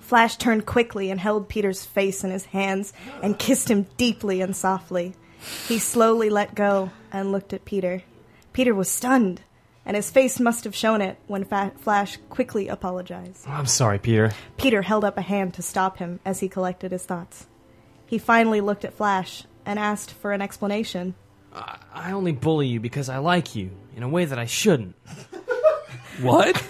A: Flash turned quickly and held Peter's face in his hands and kissed him deeply and softly. He slowly let go and looked at Peter. Peter was stunned, and his face must have shown it when Fa- Flash quickly apologized.
H: I'm sorry, Peter.
A: Peter held up a hand to stop him as he collected his thoughts. He finally looked at Flash and asked for an explanation.
H: I only bully you because I like you in a way that I shouldn't.
G: What?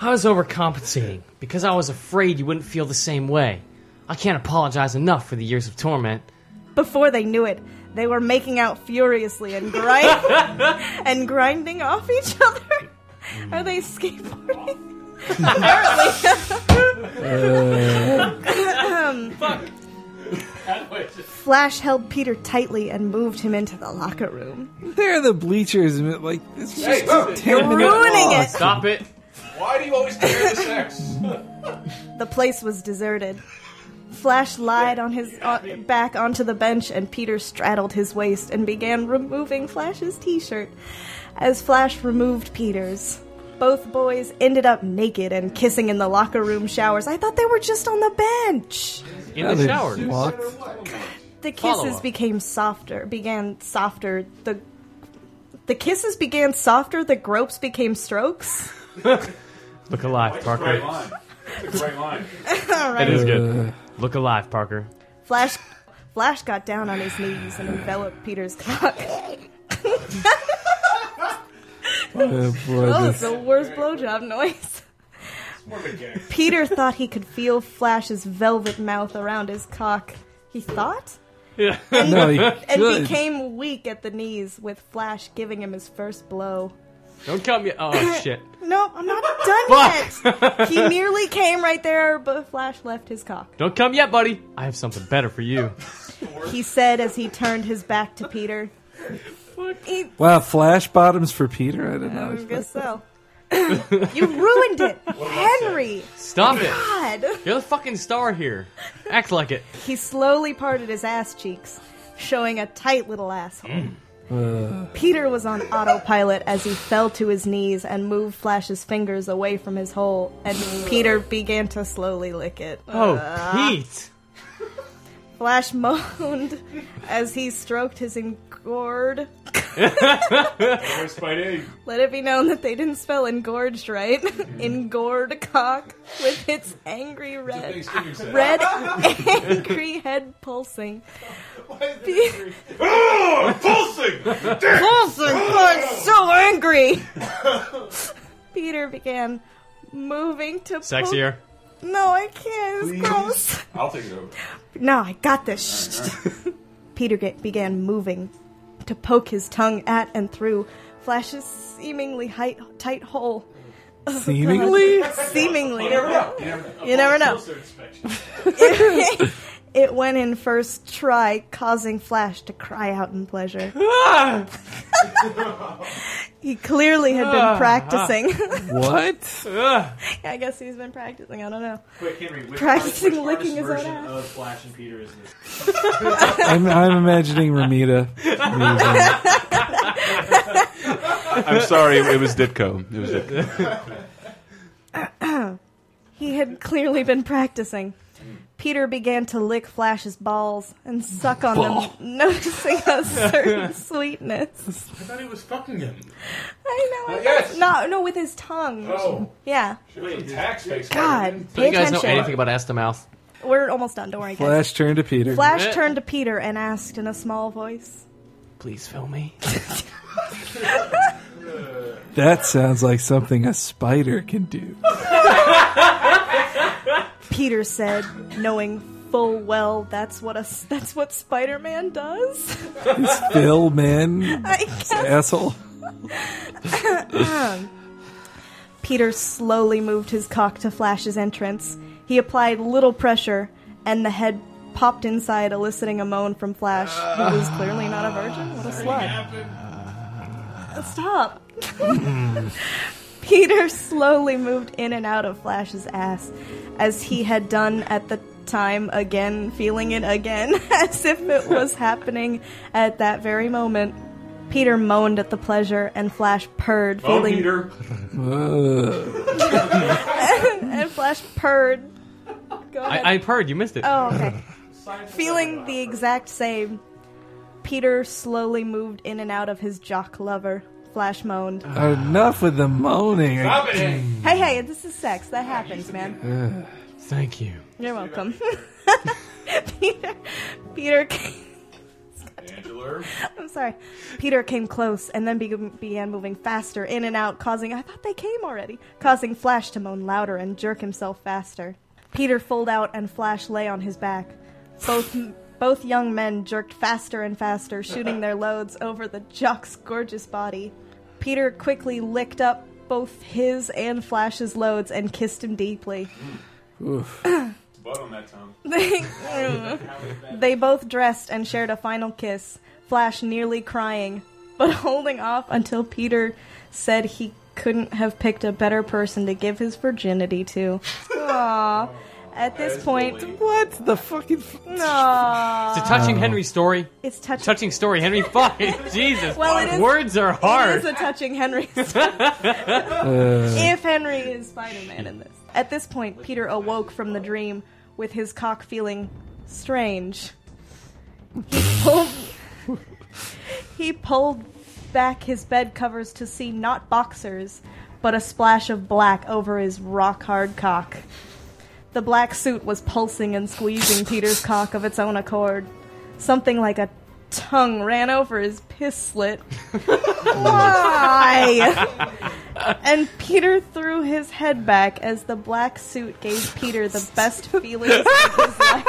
H: I was overcompensating because I was afraid you wouldn't feel the same way. I can't apologize enough for the years of torment.
A: Before they knew it, they were making out furiously and grind and grinding off each other. Are they skateboarding? Apparently. Flash held Peter tightly and moved him into the locker room.
G: They're the bleachers. and it, Like it's just
C: Hey,
G: a
C: hey,
G: ten minute
A: ruining
G: walk.
A: it.
H: Stop it.
C: Why do you always compare the sex?
A: The place was deserted. Flash lied on his on, back onto the bench, and Peter straddled his waist and began removing Flash's t shirt. As Flash removed Peter's, both boys ended up naked and kissing in the locker room showers. I thought they were just on the bench.
H: In
G: Yeah,
H: the
G: they
H: shower.
G: walked.
A: The kisses
H: Follow-up.
A: became softer, began softer. The the kisses began softer, the gropes became strokes.
H: Look alive,
C: Great
H: Parker.
C: line. It's a great line.
A: All right.
H: That is good. Look alive, Parker.
A: Flash Flash got down on his knees and enveloped Peter's cock.
G: Oh, boy,
A: Oh,
G: this-
A: it's the worst blowjob noise. Peter thought he could feel Flash's velvet mouth around his cock. He thought?
G: no, you
A: And
G: should.
A: became weak at the knees, with Flash giving him his first blow.
H: Don't cut me. Oh, shit.
A: Nope, I'm not done yet! He nearly came right there, but Flash left his cock.
H: Don't come yet, buddy. I have something better for you.
A: He said as he turned his back to Peter. He-
G: Wow, flash bottoms for Peter. I did
A: I
G: not. expect-
A: guess so. you ruined it! Henry!
H: Stop it.
A: God!
H: You're the fucking star here. Act like it.
A: He slowly parted his ass cheeks, showing a tight little asshole. Peter was on autopilot as he fell to his knees and moved Flash's fingers away from his hole, and Peter began to slowly lick it.
H: Oh,
A: Uh,
H: Pete.
A: Flash moaned as he stroked his engorged.
C: Where's Spidey?
A: Let it be known that they didn't spell engorged right. Engorged cock with its angry red,
C: Thanksgiving sex.
A: red angry head pulsing. Pe-
C: Ah, pulsing! Ah!
A: I'm so angry. Peter began moving to
H: Sexier.
A: pull- No, I can't. It's gross.
C: I'll take it over.
A: No, I got this. Peter get- began moving to poke his tongue at and through Flash's seemingly hi- tight hole. Oh,
G: Seemingly?
A: God. seemingly. You
C: You never know.
A: never know. it, it went in first try, causing Flash to cry out in pleasure.
G: Ah!
A: he clearly had been practicing.
G: Ah. What? Ah.
A: I guess he's been practicing. I don't know.
I: Quick, Henry. Which
A: Practicing
I: which artist
A: licking his own
I: version
A: ass.
I: of Flash and Peter is this?
G: I'm, I'm imagining Ramita.
C: I'm sorry, it was Ditko. It was Ditko.
A: He had clearly been practicing. Peter began to lick Flash's balls and suck on them, noticing a certain sweetness.
I: I thought he was fucking him. Uh,
A: I know. I
C: Yes.
A: No, no, with his tongue.
C: Oh,
A: Yeah.
C: wait, tax face.
A: God,
H: Do
A: pay
H: you guys know
A: attention.
H: anything about ass to mouth?
A: We're almost done. Don't worry, guys.
G: Flash turned to Peter.
A: Flash turned to Peter and asked in a small voice.
H: Please film me.
G: That sounds like something a spider can do.
A: Peter said, knowing full well that's what a that's what Spider-Man does.
G: Bill, man,
A: I guess.
G: asshole.
A: Peter slowly moved his cock to Flash's entrance. He applied little pressure, and the head popped inside, eliciting a moan from Flash, who was clearly not a virgin. What a slut. Stop. Peter slowly moved in and out of Flash's ass, as he had done at the time again, feeling it again, as if it was happening at that very moment. Peter moaned at the pleasure, and Flash purred,
C: Oh,
A: feeling
C: Peter.
G: Ugh.
A: and Flash purred. Go ahead.
H: I, I heard you missed it.
A: oh, okay. Feeling the exact same, Peter slowly moved in and out of his jock lover. Flash moaned.
H: Uh.
G: Enough with the moaning.
C: Stop it, Hank.
A: Hey, hey, this is sex. That happens, man.
H: Uh, Thank you.
A: You're welcome. Peter, Peter, came-
C: Angela.
A: I'm sorry. Peter came close and then be- began moving faster in and out, causing I thought they came already, causing Flash to moan louder and jerk himself faster. Peter pulled out and Flash lay on his back. Both both young men jerked faster and faster, shooting their loads over the jock's gorgeous body. Peter quickly licked up both his and Flash's loads and kissed him deeply.
C: Butt on that tongue.
A: They, they both dressed and shared a final kiss, Flash nearly crying, but holding off until Peter said he couldn't have picked a better person to give his virginity to. Aww. At this point,
G: What the fucking? F-
A: no,
H: It's a touching Henry story.
A: it's touching.
H: Touching story, Henry. Fucking Jesus.
A: Well, it is-
H: Words are
A: It
H: hard.
A: is a touching Henry. if Henry is Spider-Man in this, at this point, Peter awoke from the dream with his cock feeling strange. He pulled. he pulled back his bed covers to see not boxers, but a splash of black over his rock hard cock. The black suit was pulsing and squeezing Peter's cock of its own accord. Something like a tongue ran over his piss slit. Why? and Peter threw his head back as the black suit gave Peter the best feelings of his life.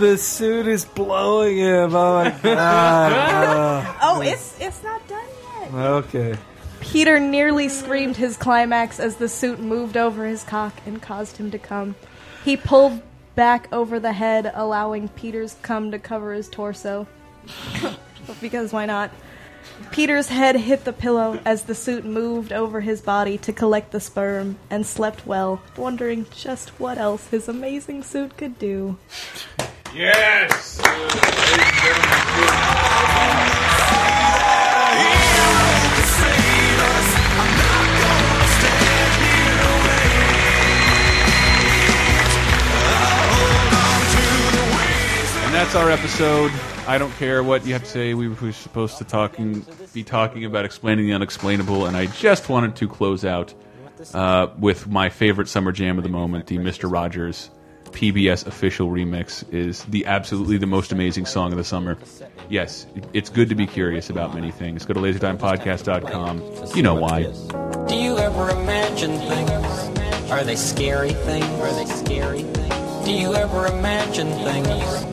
G: the suit is blowing him. Oh my god.
A: Oh, it's it's not done yet.
G: Oh, okay.
A: Peter nearly screamed his climax as the suit moved over his cock and caused him to come. He pulled back over the head, allowing Peter's cum to cover his torso. because why not? Peter's head hit the pillow as the suit moved over his body to collect the sperm and slept well, wondering just what else his amazing suit could do.
C: Yes. And that's our episode. I don't care what you have to say. We were supposed to talking, be talking about explaining the unexplainable, and I just wanted to close out uh, with my favorite summer jam of the moment, the Mister Rogers PBS official remix. Is the absolutely the most amazing song of the summer. Yes, it's good to be curious about many things. Go to lasertimepodcast.com. You know why?
J: Do you ever imagine things? Are they scary things? Are they scary things? Do you ever imagine things?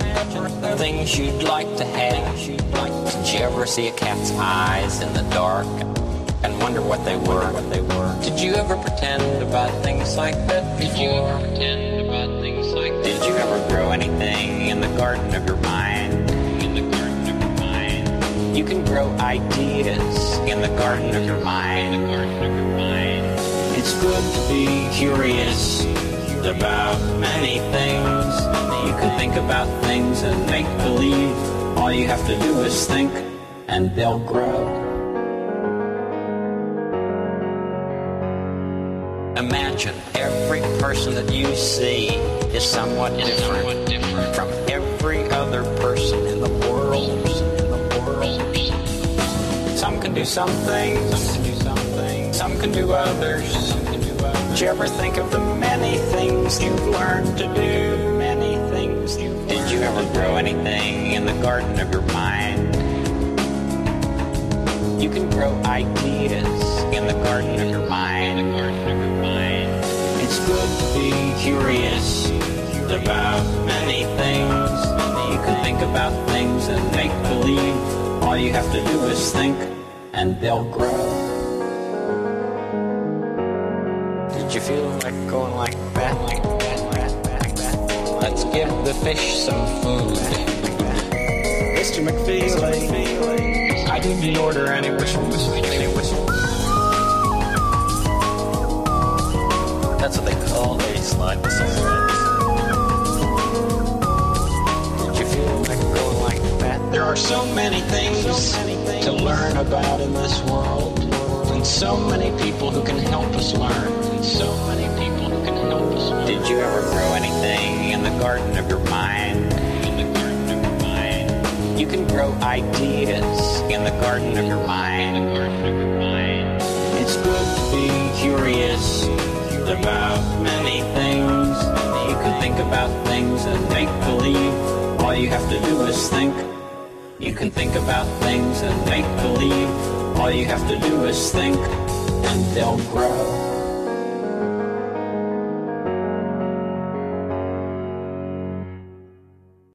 J: Things you'd like to have. Did you ever see a cat's eyes in the dark and wonder what they were? What they were? Did you ever pretend about things like that? Did you ever pretend about things like that? Did you ever grow anything in the garden of your mind? In the garden of your mind. You can grow ideas in the garden of your mind. It's good to be curious about many things. You can think about things and make believe. All you have to do is think, and they'll grow. Imagine every person that you see is somewhat different, from every other person in the world. In the world. Some can do some things, some can do some things, some can do others. Some can do others. Did you ever think of the many things you've learned to do? Many things you Did you ever grow anything in the garden of your mind? You can grow ideas in the garden of your mind. In the garden of your mind. It's good to be curious about many things. You can think about things and make believe. All you have to do is think, and they'll grow. Did you feel like going like that? Like that? Like that? Like that? Let's give the fish some food. Mr. McFeely. I didn't order any whistles. Any whistles. That's what they call a slide whistle. Did you feel like going like that? There are so many things to learn about in this world. And so many people who can help us learn. And so many people who can help us learn. Did you ever grow anything in the garden of your mind? In the garden of your mind. You can grow ideas in the garden of your mind. In the garden of your mind. It's good to be curious about many things. and think about things and make believe. All you have to do is think. You can think about things and make believe. All you have to do is think, and they'll grow.